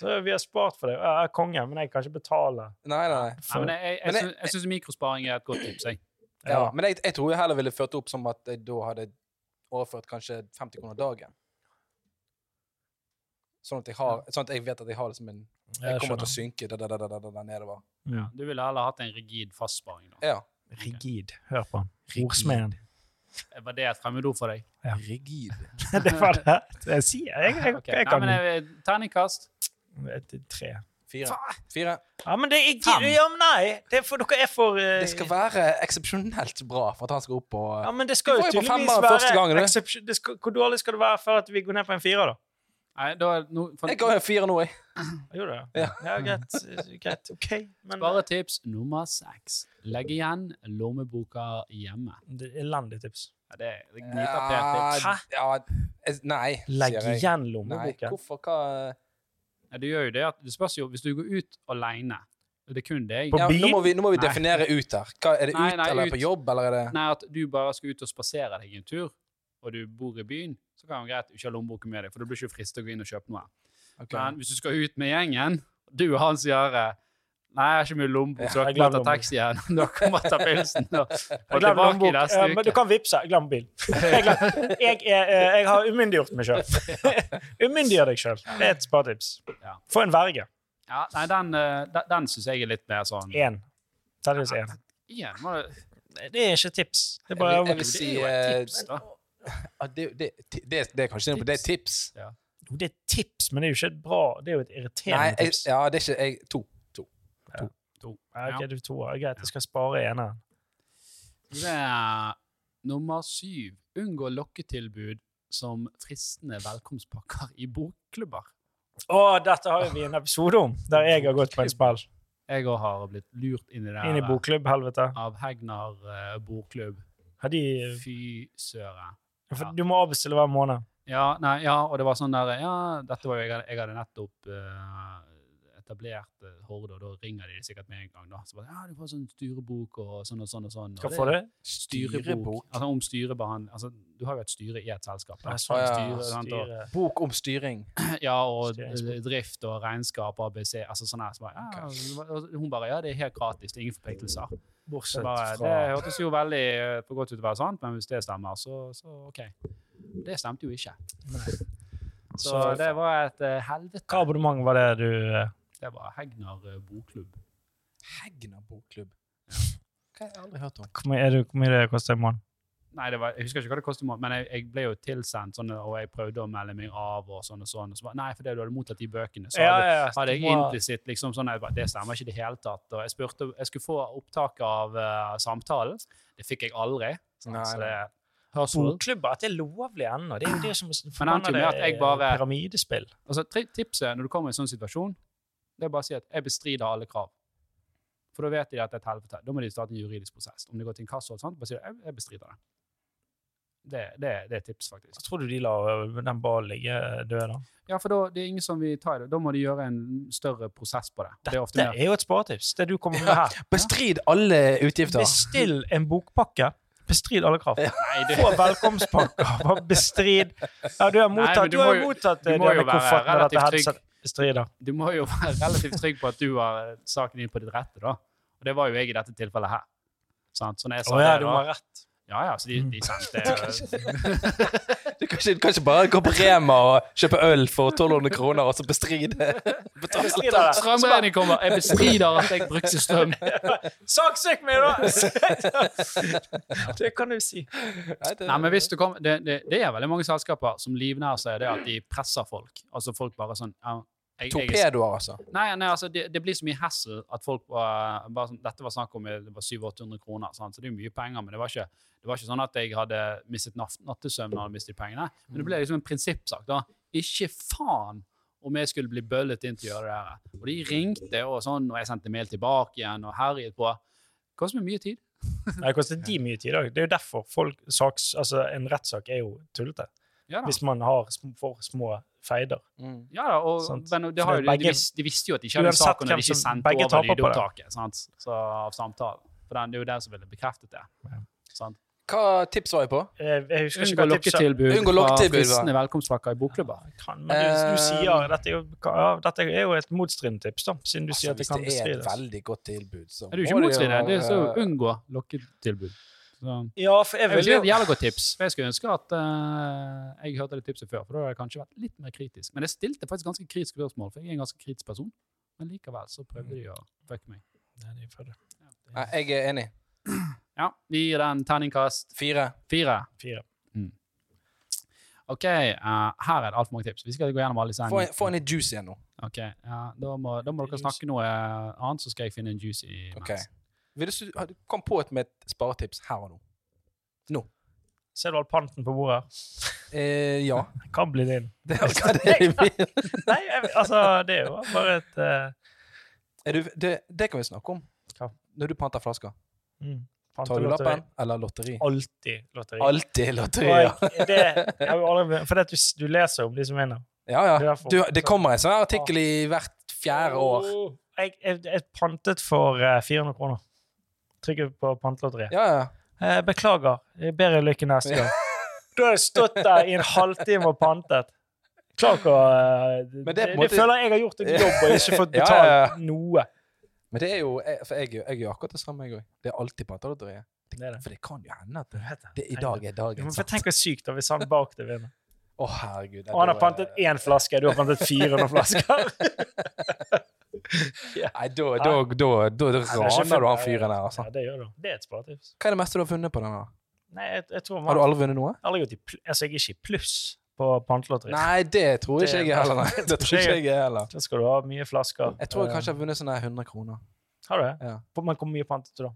[SPEAKER 2] Så vi har spart for det. Jeg er konge, men jeg kan ikke betale.
[SPEAKER 3] [LAUGHS] Nei, nei, nei.
[SPEAKER 1] Nei,
[SPEAKER 2] For,
[SPEAKER 1] men jeg, jeg,
[SPEAKER 3] Men
[SPEAKER 1] jeg,
[SPEAKER 3] jeg-
[SPEAKER 1] syns- jeg syns mikrosparing er et godt tips. Jeg.
[SPEAKER 3] Ja, men jeg, jeg tror jeg heller ville ført opp som at jeg da hadde overført kanskje 50 kroner dagen. Sånn at jeg, har, sånn at jeg vet at jeg har det som en Jeg kommer til å synke da, da, da, da, da, da, da nedover.
[SPEAKER 2] Ja.
[SPEAKER 1] Du ville heller hatt en rigid fastsparing. da.
[SPEAKER 3] Ja.
[SPEAKER 2] Rigid. Hør på han. [LAUGHS] Ordsmeden.
[SPEAKER 1] Var det et fremmedord for deg?
[SPEAKER 2] Ja.
[SPEAKER 3] Rigid.
[SPEAKER 2] Det var det. Jeg sier jeg, jeg,
[SPEAKER 1] Ok.
[SPEAKER 2] jeg
[SPEAKER 1] Nei,
[SPEAKER 2] kan
[SPEAKER 1] men jeg, eh, Terningkast.
[SPEAKER 2] Et, tre.
[SPEAKER 3] Fire. Fire.
[SPEAKER 2] Ja, men det er
[SPEAKER 1] Fem.
[SPEAKER 2] Ja, men nei! Det er for, dere er for eh,
[SPEAKER 3] Det skal være eksepsjonelt bra for at han skal opp på
[SPEAKER 2] Ja, men det skal jo
[SPEAKER 3] Du får jo på
[SPEAKER 2] tydeligvis
[SPEAKER 3] femmeren første gangen,
[SPEAKER 2] være
[SPEAKER 3] du.
[SPEAKER 2] eksepsjon... det skal- Hvor dårlig skal det være før at vi går ned på en firer, da?
[SPEAKER 1] Nei, da, er no, for,
[SPEAKER 3] Jeg ga jo fire nå, jeg.
[SPEAKER 2] Jo da.
[SPEAKER 3] Ja.
[SPEAKER 2] Ja, greit. greit. OK. Men
[SPEAKER 1] [LAUGHS] Bare tips nummer seks. Legg igjen lommeboka hjemme.
[SPEAKER 2] Det er Elendig tips.
[SPEAKER 1] Ja, det er det gniter pent tips.
[SPEAKER 3] Ja, ja, jeg- Nei,
[SPEAKER 2] Legg
[SPEAKER 3] sier jeg.
[SPEAKER 2] igjen
[SPEAKER 3] Nei,
[SPEAKER 2] lommeboken.
[SPEAKER 3] hvorfor? Hva
[SPEAKER 1] Ja, det gjør jo det at det spørs jo hvis du går ut alene. og Det er kun deg.
[SPEAKER 2] På
[SPEAKER 3] ja, Nå
[SPEAKER 2] byen?
[SPEAKER 3] må vi, nå må vi
[SPEAKER 1] Nei.
[SPEAKER 3] definere ut her. Hva, er det
[SPEAKER 1] Nei,
[SPEAKER 3] ut,
[SPEAKER 1] nei,
[SPEAKER 3] eller
[SPEAKER 1] ut.
[SPEAKER 3] på jobb, eller er det
[SPEAKER 1] Nei, at du bare skal ut og spasere deg en tur, og du bor i byen, så kan det være greit at du ikke har lommeboka med deg, for du blir ikke fristet til å gå inn og kjøpe noe.
[SPEAKER 3] Ok. [LAUGHS]
[SPEAKER 1] Men hvis du skal ut med gjengen, og du og han sier eh, Nei, jeg har ikke mye lommebok, så dere
[SPEAKER 2] jeg
[SPEAKER 1] må
[SPEAKER 2] glemmer
[SPEAKER 1] ta taxi igjen. [LAUGHS] Dere kan bare ta pilsen og
[SPEAKER 2] [LAUGHS]
[SPEAKER 1] og
[SPEAKER 2] Glem
[SPEAKER 1] tilbake i
[SPEAKER 2] lommebok.
[SPEAKER 1] neste
[SPEAKER 2] Eh, Men du
[SPEAKER 1] uke.
[SPEAKER 2] kan vippse. Glem bil. Jeg, glem- jeg, er, eh, jeg har umyndiggjort meg
[SPEAKER 3] [LAUGHS]
[SPEAKER 2] sjøl. Umyndiggjør deg sjøl. Det er et sparetips.
[SPEAKER 1] Ja.
[SPEAKER 2] Få en verge.
[SPEAKER 1] Ja, nei, den, eh, den, den syns jeg er litt mer sånn
[SPEAKER 2] Én. Tellings én.
[SPEAKER 1] Igjen, må du-
[SPEAKER 2] Det er ikke tips. Det er
[SPEAKER 3] Jeg vil- jeg
[SPEAKER 2] bare
[SPEAKER 3] vil
[SPEAKER 1] Det
[SPEAKER 3] si
[SPEAKER 1] er jo
[SPEAKER 3] eh,
[SPEAKER 1] et tips, da.
[SPEAKER 3] ja, det, det, det, det er kanskje det, det er tips.
[SPEAKER 2] Jo, Det er tips, men det er jo ikke et bra Det er jo et
[SPEAKER 3] Nei,
[SPEAKER 2] irriterende
[SPEAKER 3] jeg,
[SPEAKER 2] tips.
[SPEAKER 3] ja, det er ikke jeg, To. to.
[SPEAKER 1] To.
[SPEAKER 2] Ja,
[SPEAKER 1] Ja.
[SPEAKER 2] ok, du er toer. Greit, jeg skal spare eneren.
[SPEAKER 1] Det er nummer syv. Unngå lokketilbud som fristende velkomstpakker i bokklubber.
[SPEAKER 2] Å, dette har jo vi en episode om, der jeg har gått på en spill.
[SPEAKER 1] Jeg òg har blitt lurt inn i det
[SPEAKER 2] Inn i
[SPEAKER 1] her,
[SPEAKER 2] bokklubb, helvete.
[SPEAKER 1] av Hegnar eh, bokklubb.
[SPEAKER 2] Har de
[SPEAKER 1] Fy søren.
[SPEAKER 2] For du må avbestille hver måned.
[SPEAKER 1] Ja, nei, ja, og det var sånn der Ja, dette var jo Jeg, hadde- jeg hadde nettopp eh, etablert eh, Horde, og da ringer de sikkert med en gang, da. Så bare Ja, du får sånn styrebok og sånn og sånn og sånn. og
[SPEAKER 2] Hva får du?
[SPEAKER 1] Styrebok.
[SPEAKER 3] Styrebok.
[SPEAKER 1] Altså om styrebehandling Altså, du har jo et styre i et selskap. Da.
[SPEAKER 2] Nei, sånn
[SPEAKER 3] ja,
[SPEAKER 2] styre,
[SPEAKER 1] sant, og-
[SPEAKER 2] styre.
[SPEAKER 3] Bok om styring.
[SPEAKER 1] [LAUGHS] Ja, og
[SPEAKER 2] Styringsbok.
[SPEAKER 1] drift og regnskap, ABC, altså sånn her. Så bare, ja, og hun bare, ja, det er helt gratis, det er ingen forpliktelser. Så
[SPEAKER 2] Bortsett
[SPEAKER 1] bare, det
[SPEAKER 2] fra
[SPEAKER 1] hørtes jo veldig eh, for godt ut til å være sant, men hvis det stemmer, så, så ok. Det stemte jo ikke. Så
[SPEAKER 2] Så-
[SPEAKER 1] det var et eh, helvete.
[SPEAKER 2] Hva abonnement var det du eh,
[SPEAKER 1] Det var Hegnar eh, bokklubb.
[SPEAKER 3] Hegna bokklubb. Hva har jeg aldri hørt om?
[SPEAKER 2] Hvor mye, er det, hvor mye det koster i måneden?
[SPEAKER 1] Nei, det var, jeg husker ikke hva det kostet, i måneden, men jeg, jeg ble jo tilsendt sånne, og jeg prøvde å melde meg av og sånn og sånn. Og så bare, nei, fordi du hadde mottatt de bøkene, så
[SPEAKER 2] Ja,
[SPEAKER 1] hadde,
[SPEAKER 2] ja, ja.
[SPEAKER 1] hadde jeg
[SPEAKER 2] Du må-
[SPEAKER 1] implisitt liksom sånn jeg bare, Det stemmer ikke i det hele tatt. Og jeg spurte Jeg skulle få opptak av eh, samtalen. Det fikk jeg aldri. Så,
[SPEAKER 3] Nei,
[SPEAKER 1] så det
[SPEAKER 3] nei.
[SPEAKER 1] hørsel.
[SPEAKER 2] Bokklubber, at det er lovlig ennå. Det er jo det som er
[SPEAKER 1] Men han tror med at jeg bare-
[SPEAKER 2] pyramidespill.
[SPEAKER 1] Altså, tri- tipset når du kommer i en sånn situasjon, det er bare å si at jeg bestrider alle krav. For da vet de at det er et helvete. Da må de starte en juridisk prosess. Om det går til inkasso eller sånt, bare si at jeg bestrider det. Det, det. det er tips, faktisk.
[SPEAKER 2] Tror du de lar øh, den ballen ligge øh, død, da?
[SPEAKER 1] Ja, for da det er ingen som vil ta i det. Da må de gjøre en større prosess på det. Det er ofte
[SPEAKER 2] Det
[SPEAKER 1] mer.
[SPEAKER 2] er jo et sparetips, det du kommer med
[SPEAKER 1] [LAUGHS]
[SPEAKER 2] her.
[SPEAKER 3] Bestrid alle utgifter.
[SPEAKER 2] Bestill en bokpakke. Bestrid alle
[SPEAKER 1] [LAUGHS]
[SPEAKER 2] krav.
[SPEAKER 1] Nei, du,
[SPEAKER 2] Få velkomstpakker. Bare bestrid. Ja, du har
[SPEAKER 1] Nei, men
[SPEAKER 2] mottatt,
[SPEAKER 1] du
[SPEAKER 2] du har
[SPEAKER 1] må
[SPEAKER 2] jo
[SPEAKER 1] jo-
[SPEAKER 2] mottatt
[SPEAKER 1] du
[SPEAKER 2] eh,
[SPEAKER 1] må jo
[SPEAKER 2] denne
[SPEAKER 1] være
[SPEAKER 2] kofferten med dette
[SPEAKER 1] relativt trygg.
[SPEAKER 2] headsetet. Bestrider.
[SPEAKER 1] du må jo [LAUGHS] være relativt trygg på at du har eh, saken din på ditt rette, da. Og det var jo jeg i dette tilfellet her. Sant? Så når jeg sa
[SPEAKER 2] Å ja,
[SPEAKER 1] sånn det,
[SPEAKER 2] du må Mm.
[SPEAKER 1] da
[SPEAKER 2] ha rett.
[SPEAKER 1] Ja, ja, så de, de
[SPEAKER 2] [LAUGHS]
[SPEAKER 1] sendte
[SPEAKER 3] Du kan ikke, du kan ikke bare gå på Rema og kjøpe øl for 1200 kroner og så bestride
[SPEAKER 2] Bestrider
[SPEAKER 3] betale.
[SPEAKER 2] det.
[SPEAKER 1] Strømregningen kommer! Jeg bestrider at jeg brukte
[SPEAKER 2] [LAUGHS]
[SPEAKER 1] strøm.
[SPEAKER 2] Saksøk meg, da! Det kan du si.
[SPEAKER 1] Nei, men hvis du kom, det, det, det er veldig mange selskaper som livnærer seg det at de presser folk. Altså folk bare sånn ja, jeg, jeg,
[SPEAKER 3] Torpedoer, altså.
[SPEAKER 1] nei, nei, altså det, det blir så mye hassle at folk bare, bare sånn, Dette var snakk om det var 700-800 kroner, sant? så det er jo mye penger. Men det var ikke, det var ikke sånn at jeg hadde mistet natt, nattesøvn når jeg mistet pengene. Men det ble liksom en prinsippsak. da. Ikke faen om jeg skulle bli bøllet inn til å gjøre det her. Og de ringte, og sånn, og jeg sendte mail tilbake igjen og herjet på. Det koster meg mye tid.
[SPEAKER 2] Nei, Det koster de mye tid òg. Det er jo derfor folk, saks, altså, en rettssak er jo tullete.
[SPEAKER 1] Ja da.
[SPEAKER 2] Hvis man har sm for små feider.
[SPEAKER 3] Mm.
[SPEAKER 1] Ja da, og,
[SPEAKER 2] Sant.
[SPEAKER 1] men det
[SPEAKER 2] For
[SPEAKER 1] har
[SPEAKER 2] det
[SPEAKER 1] jo,
[SPEAKER 2] er
[SPEAKER 1] de- de,
[SPEAKER 2] begge-
[SPEAKER 1] vis, de visste jo at de ikke hadde
[SPEAKER 2] Uansett
[SPEAKER 1] saken, og de
[SPEAKER 2] hvem
[SPEAKER 1] ikke
[SPEAKER 2] som-
[SPEAKER 1] sendte
[SPEAKER 2] begge
[SPEAKER 1] over
[SPEAKER 2] taper på det.
[SPEAKER 1] lydopptaket sant? Så, av samtalen. For den, det er jo den som ville bekreftet det.
[SPEAKER 2] Ja.
[SPEAKER 1] Sant?
[SPEAKER 3] Hva tips var jeg på?
[SPEAKER 2] Jeg, jeg husker ikke
[SPEAKER 1] Unngå
[SPEAKER 2] hva tipset
[SPEAKER 1] lokketilbud
[SPEAKER 3] Unngå
[SPEAKER 1] fra
[SPEAKER 3] lokketilbud, hva?
[SPEAKER 1] fristende velkomstpakker i bokklubber.
[SPEAKER 2] kan, men du, du sier
[SPEAKER 3] Eh,
[SPEAKER 2] dette er, jo, ja, dette er jo et motstridende tips, da, siden du sier
[SPEAKER 3] Altså,
[SPEAKER 2] at det kan
[SPEAKER 3] hvis det er et
[SPEAKER 2] bestrides.
[SPEAKER 3] veldig godt tilbud, så
[SPEAKER 1] Er du ikke
[SPEAKER 3] må det jo eh,
[SPEAKER 1] motstridende? Det er så
[SPEAKER 3] være-
[SPEAKER 1] unngå lokketilbud. Så,
[SPEAKER 2] Ja, for jeg
[SPEAKER 1] jeg vil
[SPEAKER 2] vil
[SPEAKER 1] si
[SPEAKER 2] jo
[SPEAKER 1] at det er et godt tips. for Jeg skulle ønske at eh, jeg hørte det tipset før, for da hadde jeg kanskje vært litt mer kritisk. Men jeg stilte faktisk ganske kritiske spørsmål, for jeg er en ganske kritisk person. Men likevel så prøvde de å fucke meg.
[SPEAKER 2] Nei, det er for det.
[SPEAKER 3] Nei, jeg er enig.
[SPEAKER 1] Ja, vi gir den terningkast
[SPEAKER 3] Fire.
[SPEAKER 1] fire.
[SPEAKER 2] Fire.
[SPEAKER 1] Ok, eh, her er det altfor mange tips. Vi skal gå gjennom alle disse.
[SPEAKER 3] Få en, få en litt juice igjen nå.
[SPEAKER 1] Ok, ja, da, må, da må dere
[SPEAKER 2] Juice.
[SPEAKER 1] snakke noe eh, annet, så skal jeg finne en juice i mens.
[SPEAKER 3] Ok. Vil du, har du- kom på et med et sparetips her og nå.
[SPEAKER 2] Ser du all panten på bordet? her?
[SPEAKER 3] Eh, ja.
[SPEAKER 2] Kan bli din.
[SPEAKER 3] Det er, hva det er, vi-
[SPEAKER 2] Nei, jeg, altså, det er jo bare et eh,
[SPEAKER 3] er du, det, det kan vi snakke om.
[SPEAKER 2] Hva?
[SPEAKER 3] Når du panter flasker.
[SPEAKER 2] mm,
[SPEAKER 3] Tar du
[SPEAKER 2] pantelotteri.
[SPEAKER 3] lappen eller lotteri?
[SPEAKER 2] Alltid lotteri.
[SPEAKER 3] Alltid lotteri, ja.
[SPEAKER 2] Og jeg- det, jeg har jo aldri, for du, s- du leser om de som vinner.
[SPEAKER 3] ja,
[SPEAKER 2] Det
[SPEAKER 3] ja.
[SPEAKER 2] er for-
[SPEAKER 3] Du, det kommer en sånn her artikkel i hvert fjerde år.
[SPEAKER 2] Åh, Jeg, jeg, jeg pantet for eh, 400 kroner. Trykket på pantelotteriet.
[SPEAKER 3] Ja, ja.
[SPEAKER 2] Eh, beklager. eh, Bedre lykke neste gang. Da har jeg stått der i en halvtime og pantet. Klarer ikke å eh, det,
[SPEAKER 3] Men det er
[SPEAKER 2] det,
[SPEAKER 3] på en måte-
[SPEAKER 2] føler jeg har gjort en jobb og ikke fått
[SPEAKER 3] Ja,
[SPEAKER 2] betalt
[SPEAKER 3] ja, ja.
[SPEAKER 2] noe.
[SPEAKER 3] Men det er jo, jeg- for jeg, jeg gjør akkurat det samme, jeg òg. Det er alltid pantelotteriet.
[SPEAKER 2] Det er det.
[SPEAKER 3] For det kan jo hende at det,
[SPEAKER 2] Vet jeg.
[SPEAKER 3] det i dag er
[SPEAKER 2] Ja,
[SPEAKER 3] dagen.
[SPEAKER 2] men for
[SPEAKER 3] sant?
[SPEAKER 2] Tenk hvor sykt da, hvis han bak deg vinner.
[SPEAKER 3] Å, herregud.
[SPEAKER 2] Og han har pantet én flaske, du har pantet 400
[SPEAKER 3] [LAUGHS]
[SPEAKER 2] flasker.
[SPEAKER 3] Nei, da, da, da, da, da raner du han fyren her, altså.
[SPEAKER 2] Ja, det gjør du. Det er et sparetips.
[SPEAKER 3] Hva er det meste du har funnet på den? her?
[SPEAKER 2] Nei, jeg, jeg tror man,
[SPEAKER 3] Har du aldri vunnet noe?
[SPEAKER 2] aldri gått i pl altså, jeg er ikke i pluss på pantelotteriet.
[SPEAKER 3] Nei, det
[SPEAKER 2] [LAUGHS]
[SPEAKER 3] tror
[SPEAKER 2] Det-
[SPEAKER 3] ikke jeg heller. Nei. Det tror ikke jeg heller.
[SPEAKER 2] Da skal du ha mye flasker.
[SPEAKER 3] Jeg tror jeg
[SPEAKER 2] Eh,
[SPEAKER 3] kanskje jeg har vunnet sånne her 100 kroner.
[SPEAKER 2] Har du det?
[SPEAKER 3] Ja.
[SPEAKER 2] Hvor- Men hvor mye pantet du da?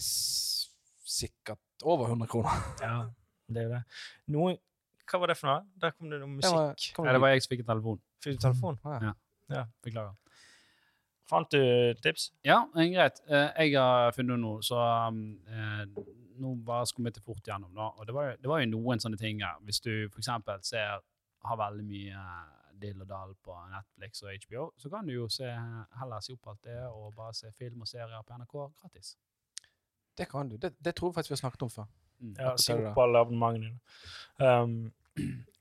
[SPEAKER 3] S- Sikkert over 100 kroner.
[SPEAKER 2] Ja, det er jo det. Noen, hva var det for noe? Der kom det noe
[SPEAKER 3] Det var-
[SPEAKER 2] musikk.
[SPEAKER 3] kom
[SPEAKER 1] Nei, det var jeg som fikk en telefon.
[SPEAKER 2] Fikk du telefon?
[SPEAKER 1] Beklager.
[SPEAKER 2] Fant du tips?
[SPEAKER 1] Ja, men greit. Eh, Jeg har funnet noe, så um, eh, nå bare skal vi til fort gjennom. Da. Og det var, jo- det var jo noen sånne ting her. Hvis du for eksempel ser, har veldig mye eh, dill og dall på Netflix og HBO, så kan du jo se, heller si opp alt det og bare se film og serier på NRK gratis.
[SPEAKER 3] Det kan du. Det, det tror jeg faktisk vi har snakket om før.
[SPEAKER 1] Mm.
[SPEAKER 2] Ja, si
[SPEAKER 3] Hva er det
[SPEAKER 2] opp alle abonnementene dine. Um,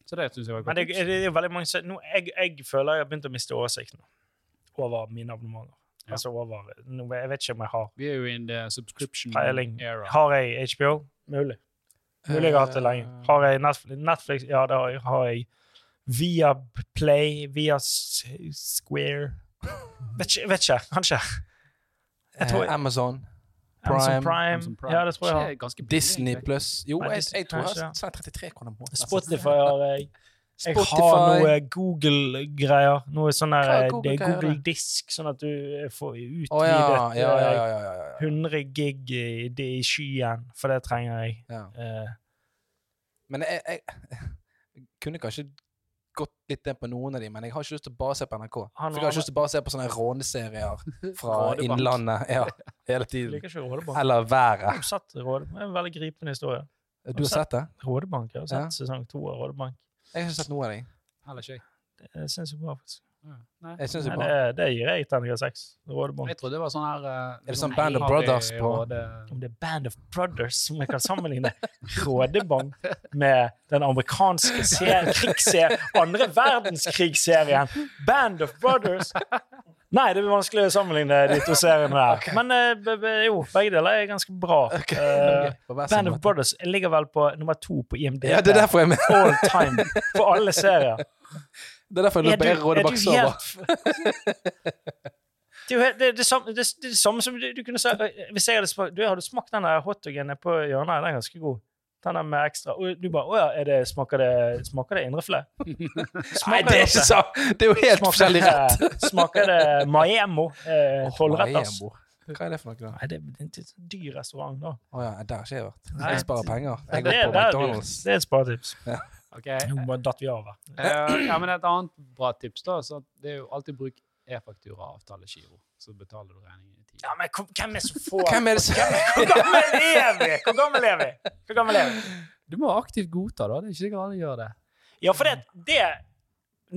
[SPEAKER 1] Så det synes jeg var et
[SPEAKER 2] men
[SPEAKER 1] godt.
[SPEAKER 2] det,
[SPEAKER 1] tips.
[SPEAKER 2] det er jo veldig mange som- nå, jeg, jeg føler jeg har begynt å miste oversikten over mine abonnementer.
[SPEAKER 1] Ja.
[SPEAKER 2] Altså over nå, Jeg vet ikke om jeg har
[SPEAKER 1] Vi er jo in the subscription
[SPEAKER 2] peiling.
[SPEAKER 1] era.
[SPEAKER 2] Har jeg HBO? Mulig. Mulig jeg har
[SPEAKER 3] Eh,
[SPEAKER 2] hatt det lenge. Har jeg Netflix? Netflix? Ja, det har jeg. Har jeg via Play, via S-
[SPEAKER 3] [LAUGHS]
[SPEAKER 2] Square Vet ikke, vet ikke. kanskje. Jeg tror
[SPEAKER 3] Eh, Amazon. Prime.
[SPEAKER 2] Amazon Prime.
[SPEAKER 1] Amazon Prime.
[SPEAKER 2] Ja, det tror jeg. jeg har.
[SPEAKER 1] Ikke ganske billig,
[SPEAKER 3] Disney
[SPEAKER 1] egentlig.
[SPEAKER 3] pluss Jo,
[SPEAKER 2] Nei,
[SPEAKER 3] jeg,
[SPEAKER 2] Disney
[SPEAKER 3] jeg tror jeg
[SPEAKER 2] Plus, ja.
[SPEAKER 3] sa 33 kroner måneden.
[SPEAKER 2] Spotify har jeg. Jeg har
[SPEAKER 3] Spotify.
[SPEAKER 2] noe Google-greier. Noe sånn der
[SPEAKER 3] Hva
[SPEAKER 2] eh, det
[SPEAKER 3] er
[SPEAKER 2] er
[SPEAKER 3] Google-greier,
[SPEAKER 2] Google Disk, sånn at du får utvidet
[SPEAKER 3] Å ja, ja, ja,
[SPEAKER 2] eh,
[SPEAKER 3] ja, ja, ja, ja.
[SPEAKER 2] 100 gig i, det i skyen, for det trenger jeg.
[SPEAKER 3] ja.
[SPEAKER 2] Eh,
[SPEAKER 3] Men jeg, jeg, jeg kunne kanskje gått litt ned på noen av de, men jeg har ikke lyst til å bare se på NRK.
[SPEAKER 2] Han-
[SPEAKER 3] For jeg har ikke lyst til å bare se på sånne
[SPEAKER 2] [LAUGHS]
[SPEAKER 3] råneserier [LAUGHS] fra
[SPEAKER 1] Rådebank.
[SPEAKER 3] Innlandet ja, hele
[SPEAKER 2] jeg
[SPEAKER 3] tiden.
[SPEAKER 2] liker ikke Rådebank.
[SPEAKER 3] Eller været.
[SPEAKER 2] Jeg har sett Rådebank. Det er en veldig gripende historie.
[SPEAKER 3] Du har sett det?
[SPEAKER 2] Rådebank, Jeg har sett
[SPEAKER 3] Ja.
[SPEAKER 2] sesong to av Rådebank.
[SPEAKER 3] Jeg har ikke sett noe av dem.
[SPEAKER 1] Heller ikke jeg.
[SPEAKER 2] Det Eh, syns jeg bra. faktisk.
[SPEAKER 1] Ja. Nei.
[SPEAKER 3] Jeg synes det
[SPEAKER 2] Nei,
[SPEAKER 3] er bra.
[SPEAKER 2] det, det gir jeg terningkast seks. Rådebank.
[SPEAKER 1] Jeg trodde det var sånn her eh,
[SPEAKER 3] det sånn Band of Brothers på-
[SPEAKER 1] råde-
[SPEAKER 2] Om det er Band of Brothers som jeg kan [LAUGHS] sammenligne Rådebank med den amerikanske serien, krigsserien, andre verdenskrigsserien Band of Brothers. Nei, det blir vanskelig å sammenligne de to seriene der.
[SPEAKER 3] Ok.
[SPEAKER 2] Men eh, be- be- jo, begge deler er ganske bra. Eh,
[SPEAKER 3] På hver sin
[SPEAKER 2] Band of
[SPEAKER 3] måte.
[SPEAKER 2] Brothers ligger vel på nummer to på IMD.
[SPEAKER 3] Ja, det er derfor jeg mener
[SPEAKER 2] All time på alle serier.
[SPEAKER 3] Det er derfor jeg lurer på
[SPEAKER 2] Er du- er
[SPEAKER 3] er
[SPEAKER 2] du
[SPEAKER 3] Rådebakk så bra.
[SPEAKER 2] [LAUGHS] Det er jo helt- det, er det, samme, det, er det samme som du, du kunne sagt Hvis jeg hadde smakt, du, Har du smakt den der hotdogen nede på hjørnet? Den er ganske god. Den der med ekstra Og du bare Å ja, er det, smaker det, smaker det
[SPEAKER 3] [LAUGHS]
[SPEAKER 2] indrefilet?
[SPEAKER 3] Nei, det er ikke sant! Det er jo helt forskjellig rett.
[SPEAKER 2] [LAUGHS] Smaker det Maemo eh, tolvretters?
[SPEAKER 3] Maemo. Hva er det for noe? da?
[SPEAKER 2] Nei, det er en dyr restaurant, da.
[SPEAKER 3] Å ja, der har ikke jeg vært.
[SPEAKER 2] Nei.
[SPEAKER 3] Jeg sparer penger. Jeg
[SPEAKER 2] det,
[SPEAKER 3] går
[SPEAKER 2] det
[SPEAKER 3] på
[SPEAKER 2] er dyrt.
[SPEAKER 3] McDonald's.
[SPEAKER 2] det er et sparetips.
[SPEAKER 1] Ok.
[SPEAKER 2] Nå bare datt vi av her.
[SPEAKER 1] Eh, ja, men et annet bra tips, da, så det er jo alltid bruk e-faktura og avtalegiro, så betaler du regningen i tide.
[SPEAKER 2] Ja, men kom- hvem er det som får
[SPEAKER 3] Hvem er det som
[SPEAKER 2] Hvor gammel er vi? Hvor gammel er vi? Hvor gammel er vi?
[SPEAKER 1] Du må aktivt godta, da. Det er ikke sikkert alle gjør det.
[SPEAKER 2] Ja, for det, det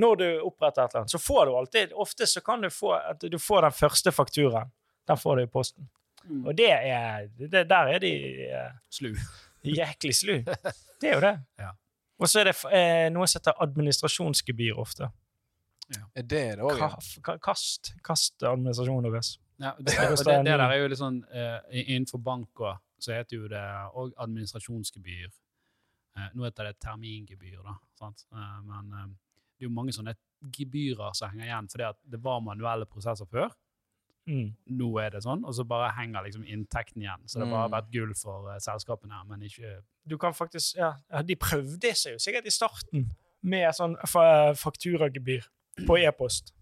[SPEAKER 2] Når du oppretter et eller annet, så får du alltid Ofte så kan du få at du får den første fakturaen. Den får du i posten.
[SPEAKER 1] Mm.
[SPEAKER 2] Og det er det, Der er de eh,
[SPEAKER 1] Slu.
[SPEAKER 2] jæklig slu. Det er jo det.
[SPEAKER 1] [LAUGHS] Ja.
[SPEAKER 2] Og så er det f- eh, noe som heter administrasjonsgebyr ofte.
[SPEAKER 3] Det er det òg.
[SPEAKER 2] Ka, ka, kast kast administrasjonen deres.
[SPEAKER 1] [LAUGHS] Ja, det,
[SPEAKER 2] Det
[SPEAKER 1] og
[SPEAKER 2] koster
[SPEAKER 1] det,
[SPEAKER 2] en
[SPEAKER 1] det der
[SPEAKER 2] mil.
[SPEAKER 1] er jo litt sånn eh, i- Innenfor bank også, så heter jo det òg administrasjonsgebyr. Eh, nå heter det termingebyr, da. Sant? Eh, men eh, det er jo mange sånne gebyrer som henger igjen, fordi at det var manuelle prosesser før.
[SPEAKER 2] Mm.
[SPEAKER 1] Nå er det sånn, og så bare henger liksom inntekten igjen. Så det har bare
[SPEAKER 3] Mm.
[SPEAKER 1] vært gull for eh, selskapene her, men ikke
[SPEAKER 2] Du kan faktisk ja, ja, De prøvde seg jo sikkert i starten med sånn fa fakturagebyr på e-post.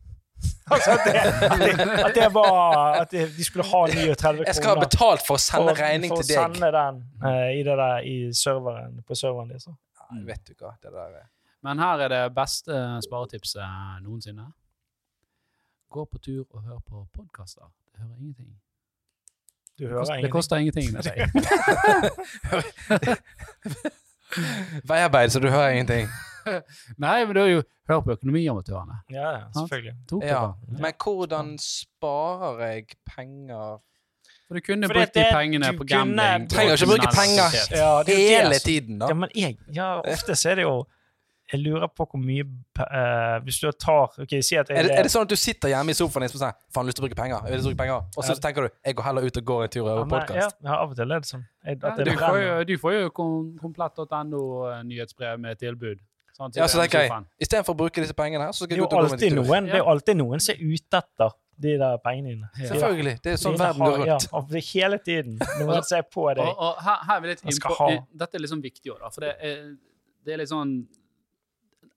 [SPEAKER 2] [LAUGHS] Altså at det, at det, at det var At det, de skulle ha 39
[SPEAKER 3] Jeg skal ha
[SPEAKER 2] kroner
[SPEAKER 3] betalt for å sende
[SPEAKER 2] for-
[SPEAKER 3] regning
[SPEAKER 2] for
[SPEAKER 3] til
[SPEAKER 2] å
[SPEAKER 3] deg.
[SPEAKER 2] sende den eh, i det der i serveren, på serveren deres. da.
[SPEAKER 3] Nei, vet du hva, det der er
[SPEAKER 1] Men her er det beste sparetipset noensinne. Gå på tur og hør på podkaster. Det hører ingenting.
[SPEAKER 2] Du
[SPEAKER 1] Det
[SPEAKER 2] hører
[SPEAKER 1] koster, det
[SPEAKER 2] ingenting.
[SPEAKER 1] koster ingenting. Det sier.
[SPEAKER 3] Veiarbeid, så du hører ingenting.
[SPEAKER 1] Nei, men det er jo Hør på Økonomiamatørene.
[SPEAKER 2] Ja, ja, selvfølgelig.
[SPEAKER 1] Tok det
[SPEAKER 3] Ja.
[SPEAKER 1] bra.
[SPEAKER 3] Men hvordan sparer jeg penger
[SPEAKER 1] For du kunne
[SPEAKER 2] Fordi
[SPEAKER 1] brukt de
[SPEAKER 2] det-
[SPEAKER 1] pengene
[SPEAKER 2] du
[SPEAKER 1] på gambling.
[SPEAKER 2] kunne-
[SPEAKER 1] og
[SPEAKER 3] Trenger ikke bruke penger.
[SPEAKER 1] kriminalitet.
[SPEAKER 2] Ja, det er jo det
[SPEAKER 3] hele
[SPEAKER 2] som-
[SPEAKER 3] tiden, da?
[SPEAKER 2] Ja, men jeg, ja, ofte så er det jo Jeg lurer på hvor mye pe- eh, Hvis du tar OK, si at jeg
[SPEAKER 3] Er det, er det sånn at du sitter hjemme i sofaen din og sier Faen, lyst til å bruke penger. Jeg vil bruke penger. Og så
[SPEAKER 2] Ja.
[SPEAKER 3] tenker du jeg går heller ut og går en tur og
[SPEAKER 2] Ja,
[SPEAKER 3] hører
[SPEAKER 2] men- ja,
[SPEAKER 3] podkast.
[SPEAKER 2] ja, av og til er det sånn. Jeg, at
[SPEAKER 1] Ja,
[SPEAKER 2] det
[SPEAKER 1] du, får
[SPEAKER 2] brenner.
[SPEAKER 1] jo, du får jo kom- komplett.no-nyhetsbrev med tilbud. Sånn sant?
[SPEAKER 3] Ja, så
[SPEAKER 1] den
[SPEAKER 3] tenker jeg
[SPEAKER 1] sofaen.
[SPEAKER 3] istedenfor å bruke disse pengene her, så skal
[SPEAKER 2] Det
[SPEAKER 3] jeg
[SPEAKER 2] er
[SPEAKER 3] ut
[SPEAKER 2] jo
[SPEAKER 3] og gå meg
[SPEAKER 2] alltid
[SPEAKER 3] en tur.
[SPEAKER 2] noen, det er jo alltid noen som er ute etter de der pengene dine.
[SPEAKER 3] Selvfølgelig. Det er sånn
[SPEAKER 2] De
[SPEAKER 3] verden
[SPEAKER 2] har-
[SPEAKER 3] går rundt.
[SPEAKER 2] Ja, og det er hele tiden. Noen som er på
[SPEAKER 1] Og,
[SPEAKER 2] deg.
[SPEAKER 1] og her, her er vi litt
[SPEAKER 2] Jeg skal
[SPEAKER 1] innpå,
[SPEAKER 2] ha.
[SPEAKER 1] eh, Dette er liksom viktig òg, da. For det er, det er litt sånn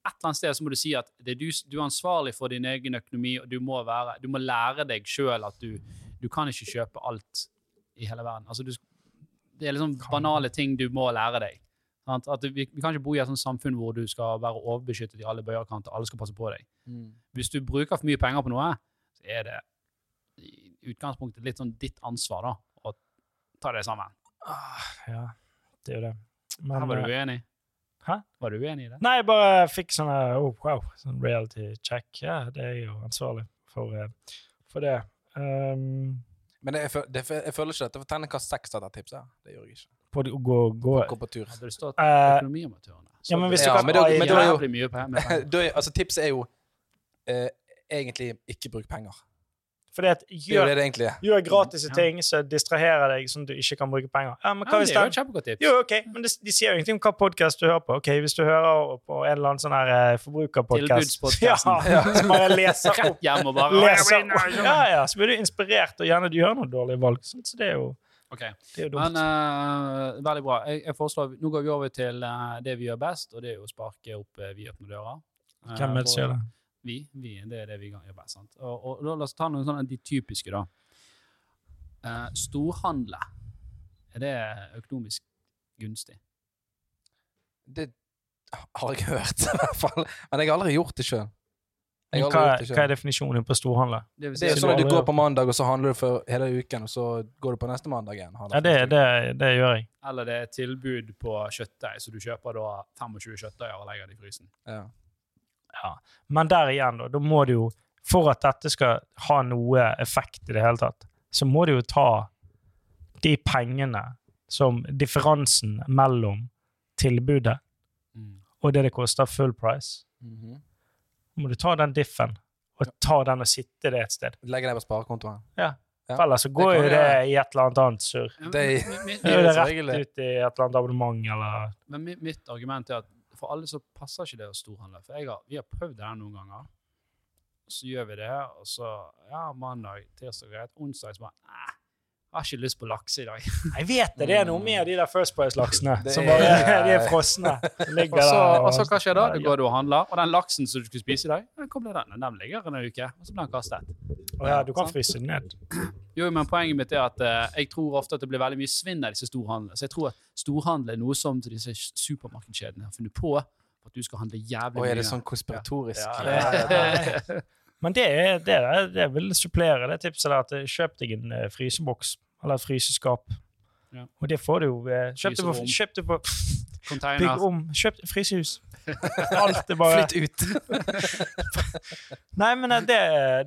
[SPEAKER 1] Et eller annet sted så må du si at det er du, s- du er ansvarlig for din egen økonomi, og du må, være, du må lære deg sjøl at du, du kan ikke kjøpe alt i hele verden. Altså, du, sk- det er liksom banale ting du må lære deg. sant? At vi, vi kan ikke bo i et sånt samfunn hvor du skal være overbeskyttet i alle bøyerkanter, alle skal passe på deg.
[SPEAKER 3] Mm.
[SPEAKER 1] Hvis du bruker for mye penger på noe, så er det i utgangspunktet litt sånn ditt ansvar da, å ta det sammen.
[SPEAKER 2] Ja, det er jo det. Men,
[SPEAKER 1] Her var du
[SPEAKER 2] eh,
[SPEAKER 1] uenig.
[SPEAKER 2] Hæ?
[SPEAKER 1] Var du uenig i det?
[SPEAKER 2] nei, jeg bare fikk sånn eh, oh, wow, sånn reality check. Ja, det er jo ansvarlig for, eh, for det. Um,
[SPEAKER 3] Men det, jeg, føl- det, jeg føler ikke dette. Terningkast seks av det tipset. her. Det gjør jeg ikke.
[SPEAKER 2] på det å gå, gå.
[SPEAKER 3] Gå på tur.
[SPEAKER 1] Hadde det stått
[SPEAKER 2] Eh,
[SPEAKER 1] økonomiamatørene? så
[SPEAKER 2] ja, men hvis
[SPEAKER 1] hadde
[SPEAKER 2] du
[SPEAKER 3] Ja,
[SPEAKER 2] kan
[SPEAKER 3] men
[SPEAKER 2] ta
[SPEAKER 3] det-
[SPEAKER 2] i-
[SPEAKER 1] det
[SPEAKER 3] men
[SPEAKER 1] vært
[SPEAKER 3] det var jo-
[SPEAKER 1] jævlig mye pe- med penger.
[SPEAKER 3] Da er- altså, tipset er jo eh, egentlig ikke bruk penger.
[SPEAKER 2] Fordi at
[SPEAKER 3] Det er jo
[SPEAKER 2] gjør,
[SPEAKER 3] det det egentlig er.
[SPEAKER 2] gjør gratis
[SPEAKER 1] Ja.
[SPEAKER 2] ting som distraherer deg, sånn at du ikke kan bruke penger. Ja, men
[SPEAKER 1] Ja,
[SPEAKER 2] [LAUGHS]
[SPEAKER 1] men
[SPEAKER 2] hva
[SPEAKER 1] det
[SPEAKER 2] hvis
[SPEAKER 1] er jo
[SPEAKER 2] den
[SPEAKER 1] et kjempegodt tips.
[SPEAKER 2] Jo, ok, men de, de sier jo ingenting om hva podkast du hører på. Ok, Hvis du hører på en eller annen sånn her eh, forbrukerpodkast
[SPEAKER 1] Tilbudspodcasten.
[SPEAKER 2] [LAUGHS] Ja, som bare leser
[SPEAKER 1] [LAUGHS]
[SPEAKER 2] opp
[SPEAKER 1] Rett hjem og bare
[SPEAKER 2] leser opp. Ja, ja, så blir du inspirert, og gjerne du gjør noen dårlige valg. Sånn, så det er jo
[SPEAKER 1] Ok,
[SPEAKER 2] Det er jo dumt.
[SPEAKER 1] Men eh, veldig bra. Jeg, jeg foreslår, Nå går vi over til eh, det vi gjør best, og det er jo å sparke opp eh, vidåpne dører. Eh,
[SPEAKER 2] Hvem er det som
[SPEAKER 1] og-
[SPEAKER 2] gjør det?
[SPEAKER 1] Vi. vi, Det er det vi gjør best. sant? Og, og, da, La oss ta noen sånne av de typiske, da. Eh, storhandle. Er det økonomisk gunstig?
[SPEAKER 3] Det har jeg [LAUGHS] hørt, i hvert fall. Men jeg har aldri gjort det sjøl.
[SPEAKER 2] Men Hva, hva er definisjonen på storhandel?
[SPEAKER 1] vil si
[SPEAKER 3] Det er jo
[SPEAKER 1] at
[SPEAKER 3] sånn at du
[SPEAKER 2] aldri
[SPEAKER 3] går
[SPEAKER 2] gjort
[SPEAKER 3] på mandag, og så handler du for hele uken, og så går du på neste mandag igjen.
[SPEAKER 2] Ja, det, det, det gjør jeg.
[SPEAKER 1] Eller det er tilbud på kjøttdeig, så du kjøper da 25 kjøttdeiger og legger det i frysen.
[SPEAKER 3] Ja.
[SPEAKER 2] Men der igjen, da, da må du jo For at dette skal ha noe effekt i det hele tatt, så må du jo ta de pengene som differansen mellom tilbudet og det det koster full price.
[SPEAKER 3] Mhm.
[SPEAKER 2] Må du ta den diffen og ta den og sitte det et sted.
[SPEAKER 3] Legger deg på sparekontoen. Ja.
[SPEAKER 2] For ellers så går
[SPEAKER 3] kan
[SPEAKER 2] jo
[SPEAKER 3] vi
[SPEAKER 2] det
[SPEAKER 3] gjøre.
[SPEAKER 2] i et eller annet annet surr.
[SPEAKER 1] [LAUGHS] Ja, men-
[SPEAKER 3] Det-
[SPEAKER 1] men- men-
[SPEAKER 2] Da er det
[SPEAKER 3] som
[SPEAKER 2] rett
[SPEAKER 3] regel det.
[SPEAKER 2] ut i et eller annet abonnement eller
[SPEAKER 1] Men mi- mitt argument er at for alle så passer ikke det å storhandle. For jeg har, vi har prøvd det her noen ganger. Så gjør vi det, og så ja, mandag, tirsdag, greit. Onsdag så bare "Æ, Jeg har ikke lyst på lakse i dag.
[SPEAKER 2] Jeg vet det! Det er noe med de der First Price-laksene
[SPEAKER 3] Det
[SPEAKER 2] som bare
[SPEAKER 3] er-
[SPEAKER 2] [LAUGHS] de Mm. er frosne. som ligger
[SPEAKER 1] Og så,
[SPEAKER 2] der
[SPEAKER 1] og så hva skjer da? Da går du og handler, og den laksen som du skulle spise i dag, ja, hvor ble den? Nei, Den ligger en uke, og så blir den kastet.
[SPEAKER 2] Å ja, du kan fryse den ned.
[SPEAKER 1] Jo, men poenget mitt er at eh, jeg tror ofte at det blir veldig mye svinn av disse storhandlene. Så jeg tror at storhandel er noe som disse supermarkedskjedene har funnet på, at du skal handle jævlig
[SPEAKER 3] Og
[SPEAKER 1] mye.
[SPEAKER 3] er det sånn eh, konspiratorisk?
[SPEAKER 1] Ja,
[SPEAKER 2] Ja,
[SPEAKER 1] det-
[SPEAKER 2] Men det, er, det, er, det vil supplere det tipset der at eh, kjøp deg en eh, fryseboks eller et fryseskap.
[SPEAKER 1] Ja.
[SPEAKER 2] Og det får du jo. eh, Kjøp det på,
[SPEAKER 1] Fryserom.
[SPEAKER 2] kjøp det på Bygg
[SPEAKER 1] Container.
[SPEAKER 2] om. Kjøp
[SPEAKER 1] [LAUGHS]
[SPEAKER 2] frysehus. Alt er bare
[SPEAKER 3] Flytt ut! [LAUGHS]
[SPEAKER 2] Nei, men eh, det,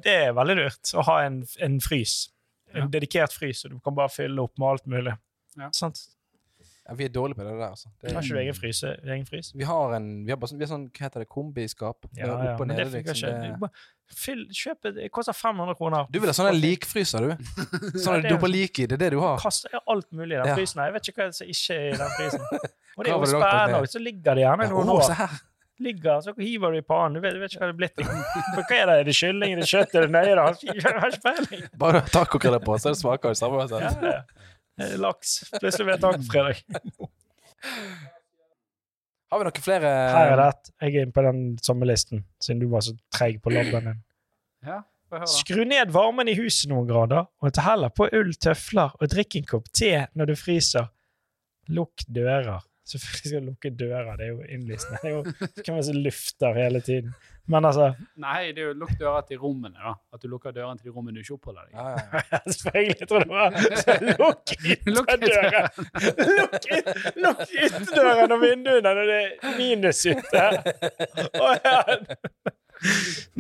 [SPEAKER 2] det er veldig lurt å ha en, en frys. En
[SPEAKER 1] Ja.
[SPEAKER 2] dedikert frys, og du kan bare fylle opp med alt mulig.
[SPEAKER 1] Ja.
[SPEAKER 2] Sant?
[SPEAKER 3] Ja, vi er dårlige på det der, altså. Det,
[SPEAKER 2] Har ikke du egen fryse? Egen frys?
[SPEAKER 3] vi har en vi har, bare, sånn- vi har sånn, hva heter det, kombiskap?
[SPEAKER 2] Ja,
[SPEAKER 3] Opp
[SPEAKER 2] ja,
[SPEAKER 3] og
[SPEAKER 2] men det
[SPEAKER 3] nede,
[SPEAKER 2] funker
[SPEAKER 3] liksom.
[SPEAKER 2] ikke.
[SPEAKER 3] Det-
[SPEAKER 2] Du bare Fyll, kjøp et- Det koster 500 kroner.
[SPEAKER 3] Du vil ha sånn en likfryser,
[SPEAKER 2] [LAUGHS]
[SPEAKER 3] du. Sånn at du
[SPEAKER 2] Ja, det-
[SPEAKER 3] doper lik i. Det er det du har.
[SPEAKER 2] kaster jeg alt mulig i den
[SPEAKER 3] Ja.
[SPEAKER 2] frysen. her. Jeg vet ikke hva som ikke er i den
[SPEAKER 3] [LAUGHS]
[SPEAKER 2] frysen. Og det er
[SPEAKER 3] Hva var
[SPEAKER 2] jo
[SPEAKER 3] det du lagt
[SPEAKER 2] spennende,
[SPEAKER 3] ned?
[SPEAKER 2] og så ligger det gjerne
[SPEAKER 3] Ja,
[SPEAKER 2] noen
[SPEAKER 3] å,
[SPEAKER 2] år.
[SPEAKER 3] se her.
[SPEAKER 2] Ligger, så hiver du i pannen. Du vet, du vet ikke hva det er
[SPEAKER 3] [LAUGHS]
[SPEAKER 2] blitt. For hva er det? Er det kylling? Er det kjøtt? Er det nøye? da? Jeg har ikke peiling.
[SPEAKER 3] Bare du har tacokrydder på, så er det smaker det samme. altså.
[SPEAKER 2] Ja, ja. Er det Eh, Laks. Plutselig blir det tacofredag.
[SPEAKER 3] Har vi noen flere
[SPEAKER 2] Her er det ett. Jeg er inne på den samme listen, siden du var så treig på labben din.
[SPEAKER 1] Ja, får jeg høre da.
[SPEAKER 2] Skru ned varmen i huset noen grader, og ta heller på ull, tøfler og drikk en kopp te når du fryser. Lukk dører. Selvfølgelig skal du lukke dører, det er jo innlysende. Det er jo det kan være så lufter hele tiden. Men altså,
[SPEAKER 1] Nei, det er jo lukk døra til rommene, da. At du lukker dørene til de rommene du ikke oppholder deg i.
[SPEAKER 3] Ja, ja, ja.
[SPEAKER 2] [LAUGHS] selvfølgelig tror jeg det var så lukk
[SPEAKER 1] Lukk
[SPEAKER 2] ytterdøren! Lukk, yt- lukk ytterdøren og vinduene når det er minus ute! Å, ja.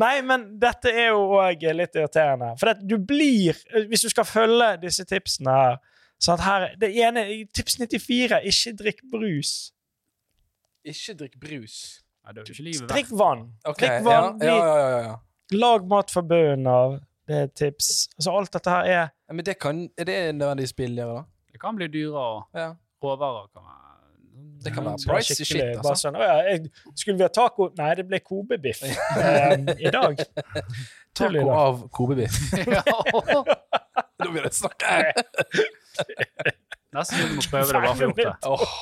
[SPEAKER 2] Nei, men dette er jo òg litt irriterende. For at du blir Hvis du skal følge disse tipsene her sånn at her, Det ene Tips 94 ikke drikk brus.
[SPEAKER 3] Ikke drikk brus.
[SPEAKER 1] Nei, det er jo ikke livet verdt.
[SPEAKER 2] Drikk vann.
[SPEAKER 3] Ok,
[SPEAKER 2] Drikk vann.
[SPEAKER 3] ja, ja, ja, ja, ja.
[SPEAKER 2] bli- Lag mat fra bunnen av. Det er et tips. Altså, alt dette her er
[SPEAKER 3] Ja, Men det kan, er det nødvendigvis billigere, da?
[SPEAKER 1] Det kan bli dyrere, og
[SPEAKER 3] Ja.
[SPEAKER 1] råvarer kan være
[SPEAKER 3] Det kan være
[SPEAKER 2] Skal
[SPEAKER 3] price is shit,
[SPEAKER 2] skikkelig-
[SPEAKER 3] altså.
[SPEAKER 2] Bare sånn, «Å ja, jeg, skulle vi ha taco? Nei, det ble
[SPEAKER 3] [LAUGHS]
[SPEAKER 2] kobebiff um, i dag. Tull i dag.
[SPEAKER 3] Taco av kobebiff.
[SPEAKER 1] [LAUGHS]
[SPEAKER 2] [LAUGHS]
[SPEAKER 1] Ja,
[SPEAKER 3] Nå blir det snakk her!
[SPEAKER 1] Nesten så du må prøve det bare for å gjøre det.
[SPEAKER 3] Åh,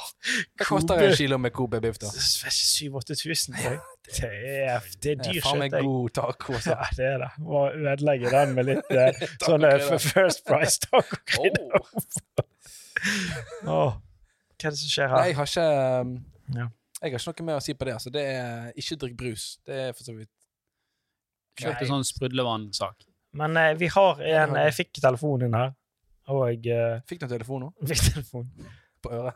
[SPEAKER 3] Hva koster en kilo med kobebiff, da?
[SPEAKER 2] 7000-8000. Det er, det er
[SPEAKER 3] Det er
[SPEAKER 2] dyr
[SPEAKER 3] faen meg
[SPEAKER 2] kjøtt. jeg.
[SPEAKER 3] god taco. altså.
[SPEAKER 2] Ja, det er det. Må ødelegge den med litt
[SPEAKER 3] [LAUGHS]
[SPEAKER 2] eh, sånne
[SPEAKER 3] Tacokrydder.
[SPEAKER 2] First Price
[SPEAKER 3] [LAUGHS]
[SPEAKER 2] tacokrydder.
[SPEAKER 3] Åh.
[SPEAKER 2] Åh. Hva er det som skjer
[SPEAKER 3] Nei,
[SPEAKER 2] her?
[SPEAKER 3] jeg har ikke um,
[SPEAKER 2] Ja.
[SPEAKER 3] Jeg har ikke noe mer å si på det. Altså, det er ikke drikk brus. Det er for så vidt
[SPEAKER 1] Kjøpte sånn sprudlevann-sak.
[SPEAKER 2] Men eh, vi har en Jeg fikk telefonen din her, og eh,
[SPEAKER 3] Fikk du en telefon nå?
[SPEAKER 2] fikk telefonen.
[SPEAKER 3] På øret?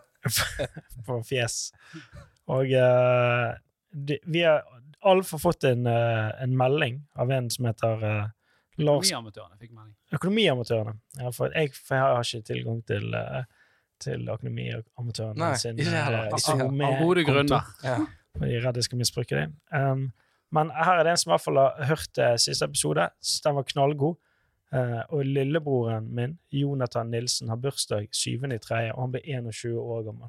[SPEAKER 2] på fjes. Og eh, de, vi har alle får fått en, eh, en melding av en som heter eh, Lars
[SPEAKER 1] Økonomiamatørene fikk melding.
[SPEAKER 2] Økonomiamatørene. Ja, for jeg, for jeg har ikke tilgang til, eh, til Økonomiamatørene
[SPEAKER 3] Nei,
[SPEAKER 2] sin
[SPEAKER 3] ikke jeg heller.
[SPEAKER 2] eh,
[SPEAKER 3] Ikke
[SPEAKER 2] Zoom-
[SPEAKER 3] heller.
[SPEAKER 1] Av gode grunner.
[SPEAKER 3] Ja.
[SPEAKER 2] for de er redd jeg skal misbruke det. Um, men her er det en som i hvert fall har hørt eh, siste episode. Så Den var knallgod. Eh, og lillebroren min, Jonathan Nilsen, har bursdag 7.3., og han blir 21 år gammel.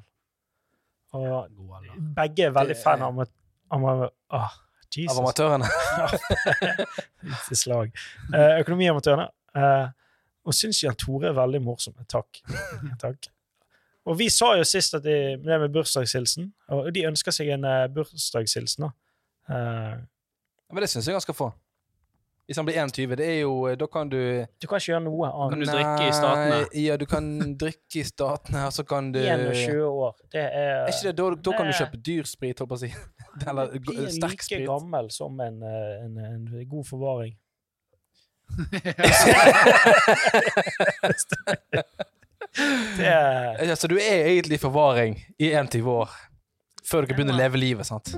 [SPEAKER 2] Og
[SPEAKER 1] God alder.
[SPEAKER 2] begge er veldig
[SPEAKER 3] Det-
[SPEAKER 2] fan av amat- ama- Åh, Jesus.
[SPEAKER 3] Av amatørene.
[SPEAKER 2] Lite slag. Eh, økonomiamatørene. eh, Og syns Jan Tore er veldig morsom.
[SPEAKER 3] [LAUGHS]
[SPEAKER 2] Takk. Takk. Og vi sa jo sist at de, det med bursdagshilsen, og de ønsker seg en eh, bursdagshilsen, da. Eh,
[SPEAKER 3] Men det syns jeg han skal få. sånn Hvis han blir 21, det er jo eh, Da kan du
[SPEAKER 2] du kan ikke gjøre noe
[SPEAKER 4] Kan
[SPEAKER 2] annet.
[SPEAKER 4] du drikke i statene?
[SPEAKER 3] Nei, Ja, du kan [LAUGHS] drikke i statene, og så kan du
[SPEAKER 2] 21 år. Det er,
[SPEAKER 3] eh,
[SPEAKER 2] eh,
[SPEAKER 3] Er ikke det, da, da kan du
[SPEAKER 2] Nei.
[SPEAKER 3] kjøpe dyr sprit, holdt på å si. [LAUGHS] Eller
[SPEAKER 2] blir
[SPEAKER 3] g- sterk
[SPEAKER 2] like
[SPEAKER 3] sprit.
[SPEAKER 2] gammel som en, eh, en, en god
[SPEAKER 3] [LAUGHS]
[SPEAKER 2] forvaring. [LAUGHS] det er
[SPEAKER 3] Eh, Ja, så du er egentlig i forvaring i 21 år før du kan begynne å leve livet, sant?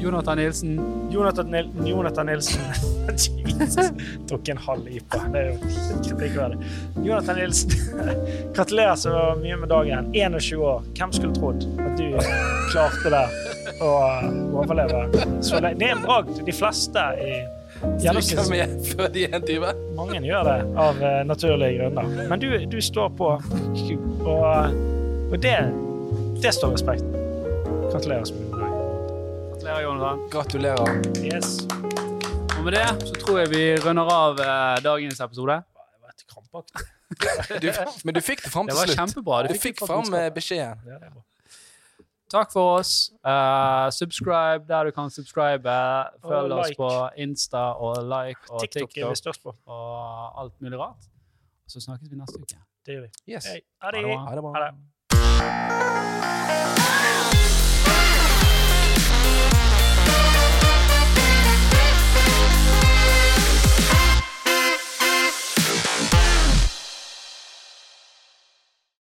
[SPEAKER 1] Jonathan Nilsen.
[SPEAKER 2] Jonathan, Nil Jonathan Nilsen [LAUGHS] Jesus, tok en halv IPA. Det er jo kritikkverdig. Jonathan Nilsen, [LAUGHS] gratulerer så mye med dagen. 21 år. Hvem skulle trodd at du klarte det å eh, overleve? Så le- det er en bragd. De fleste i
[SPEAKER 3] Drikker
[SPEAKER 2] gjennomsnitts-
[SPEAKER 3] med [LAUGHS] før de er 21.
[SPEAKER 2] Mange gjør det av eh, naturlige grunner. Men du, du står på, og, eh, og det, det står respekt. Gratulerer så mye med dagen.
[SPEAKER 1] Gratulerer, Jonathan.
[SPEAKER 3] Gratulerer.
[SPEAKER 2] Yes.
[SPEAKER 1] Og med det så tror jeg vi runder av eh, dagens episode.
[SPEAKER 2] Det var et krampaktig.
[SPEAKER 3] Du, men du fikk det fram
[SPEAKER 1] Det
[SPEAKER 3] til
[SPEAKER 1] var
[SPEAKER 3] slutt.
[SPEAKER 1] kjempebra.
[SPEAKER 3] Du
[SPEAKER 1] Du fikk
[SPEAKER 3] fikk fram eh, beskjeden.
[SPEAKER 2] Ja, det er bra.
[SPEAKER 1] Takk for oss. Eh, subscribe der du kan subscribe. Følg
[SPEAKER 2] Og
[SPEAKER 1] oss
[SPEAKER 2] like.
[SPEAKER 1] på Insta og like og
[SPEAKER 2] TikTok er vi
[SPEAKER 1] TikTok
[SPEAKER 2] størst på.
[SPEAKER 1] og alt mulig rart. Så snakkes vi neste uke.
[SPEAKER 3] É,
[SPEAKER 2] Det gjør vi.
[SPEAKER 3] Yes.
[SPEAKER 2] Hei.
[SPEAKER 1] Ha det bra.
[SPEAKER 3] Ha det
[SPEAKER 2] Ha
[SPEAKER 3] bra.
[SPEAKER 2] det.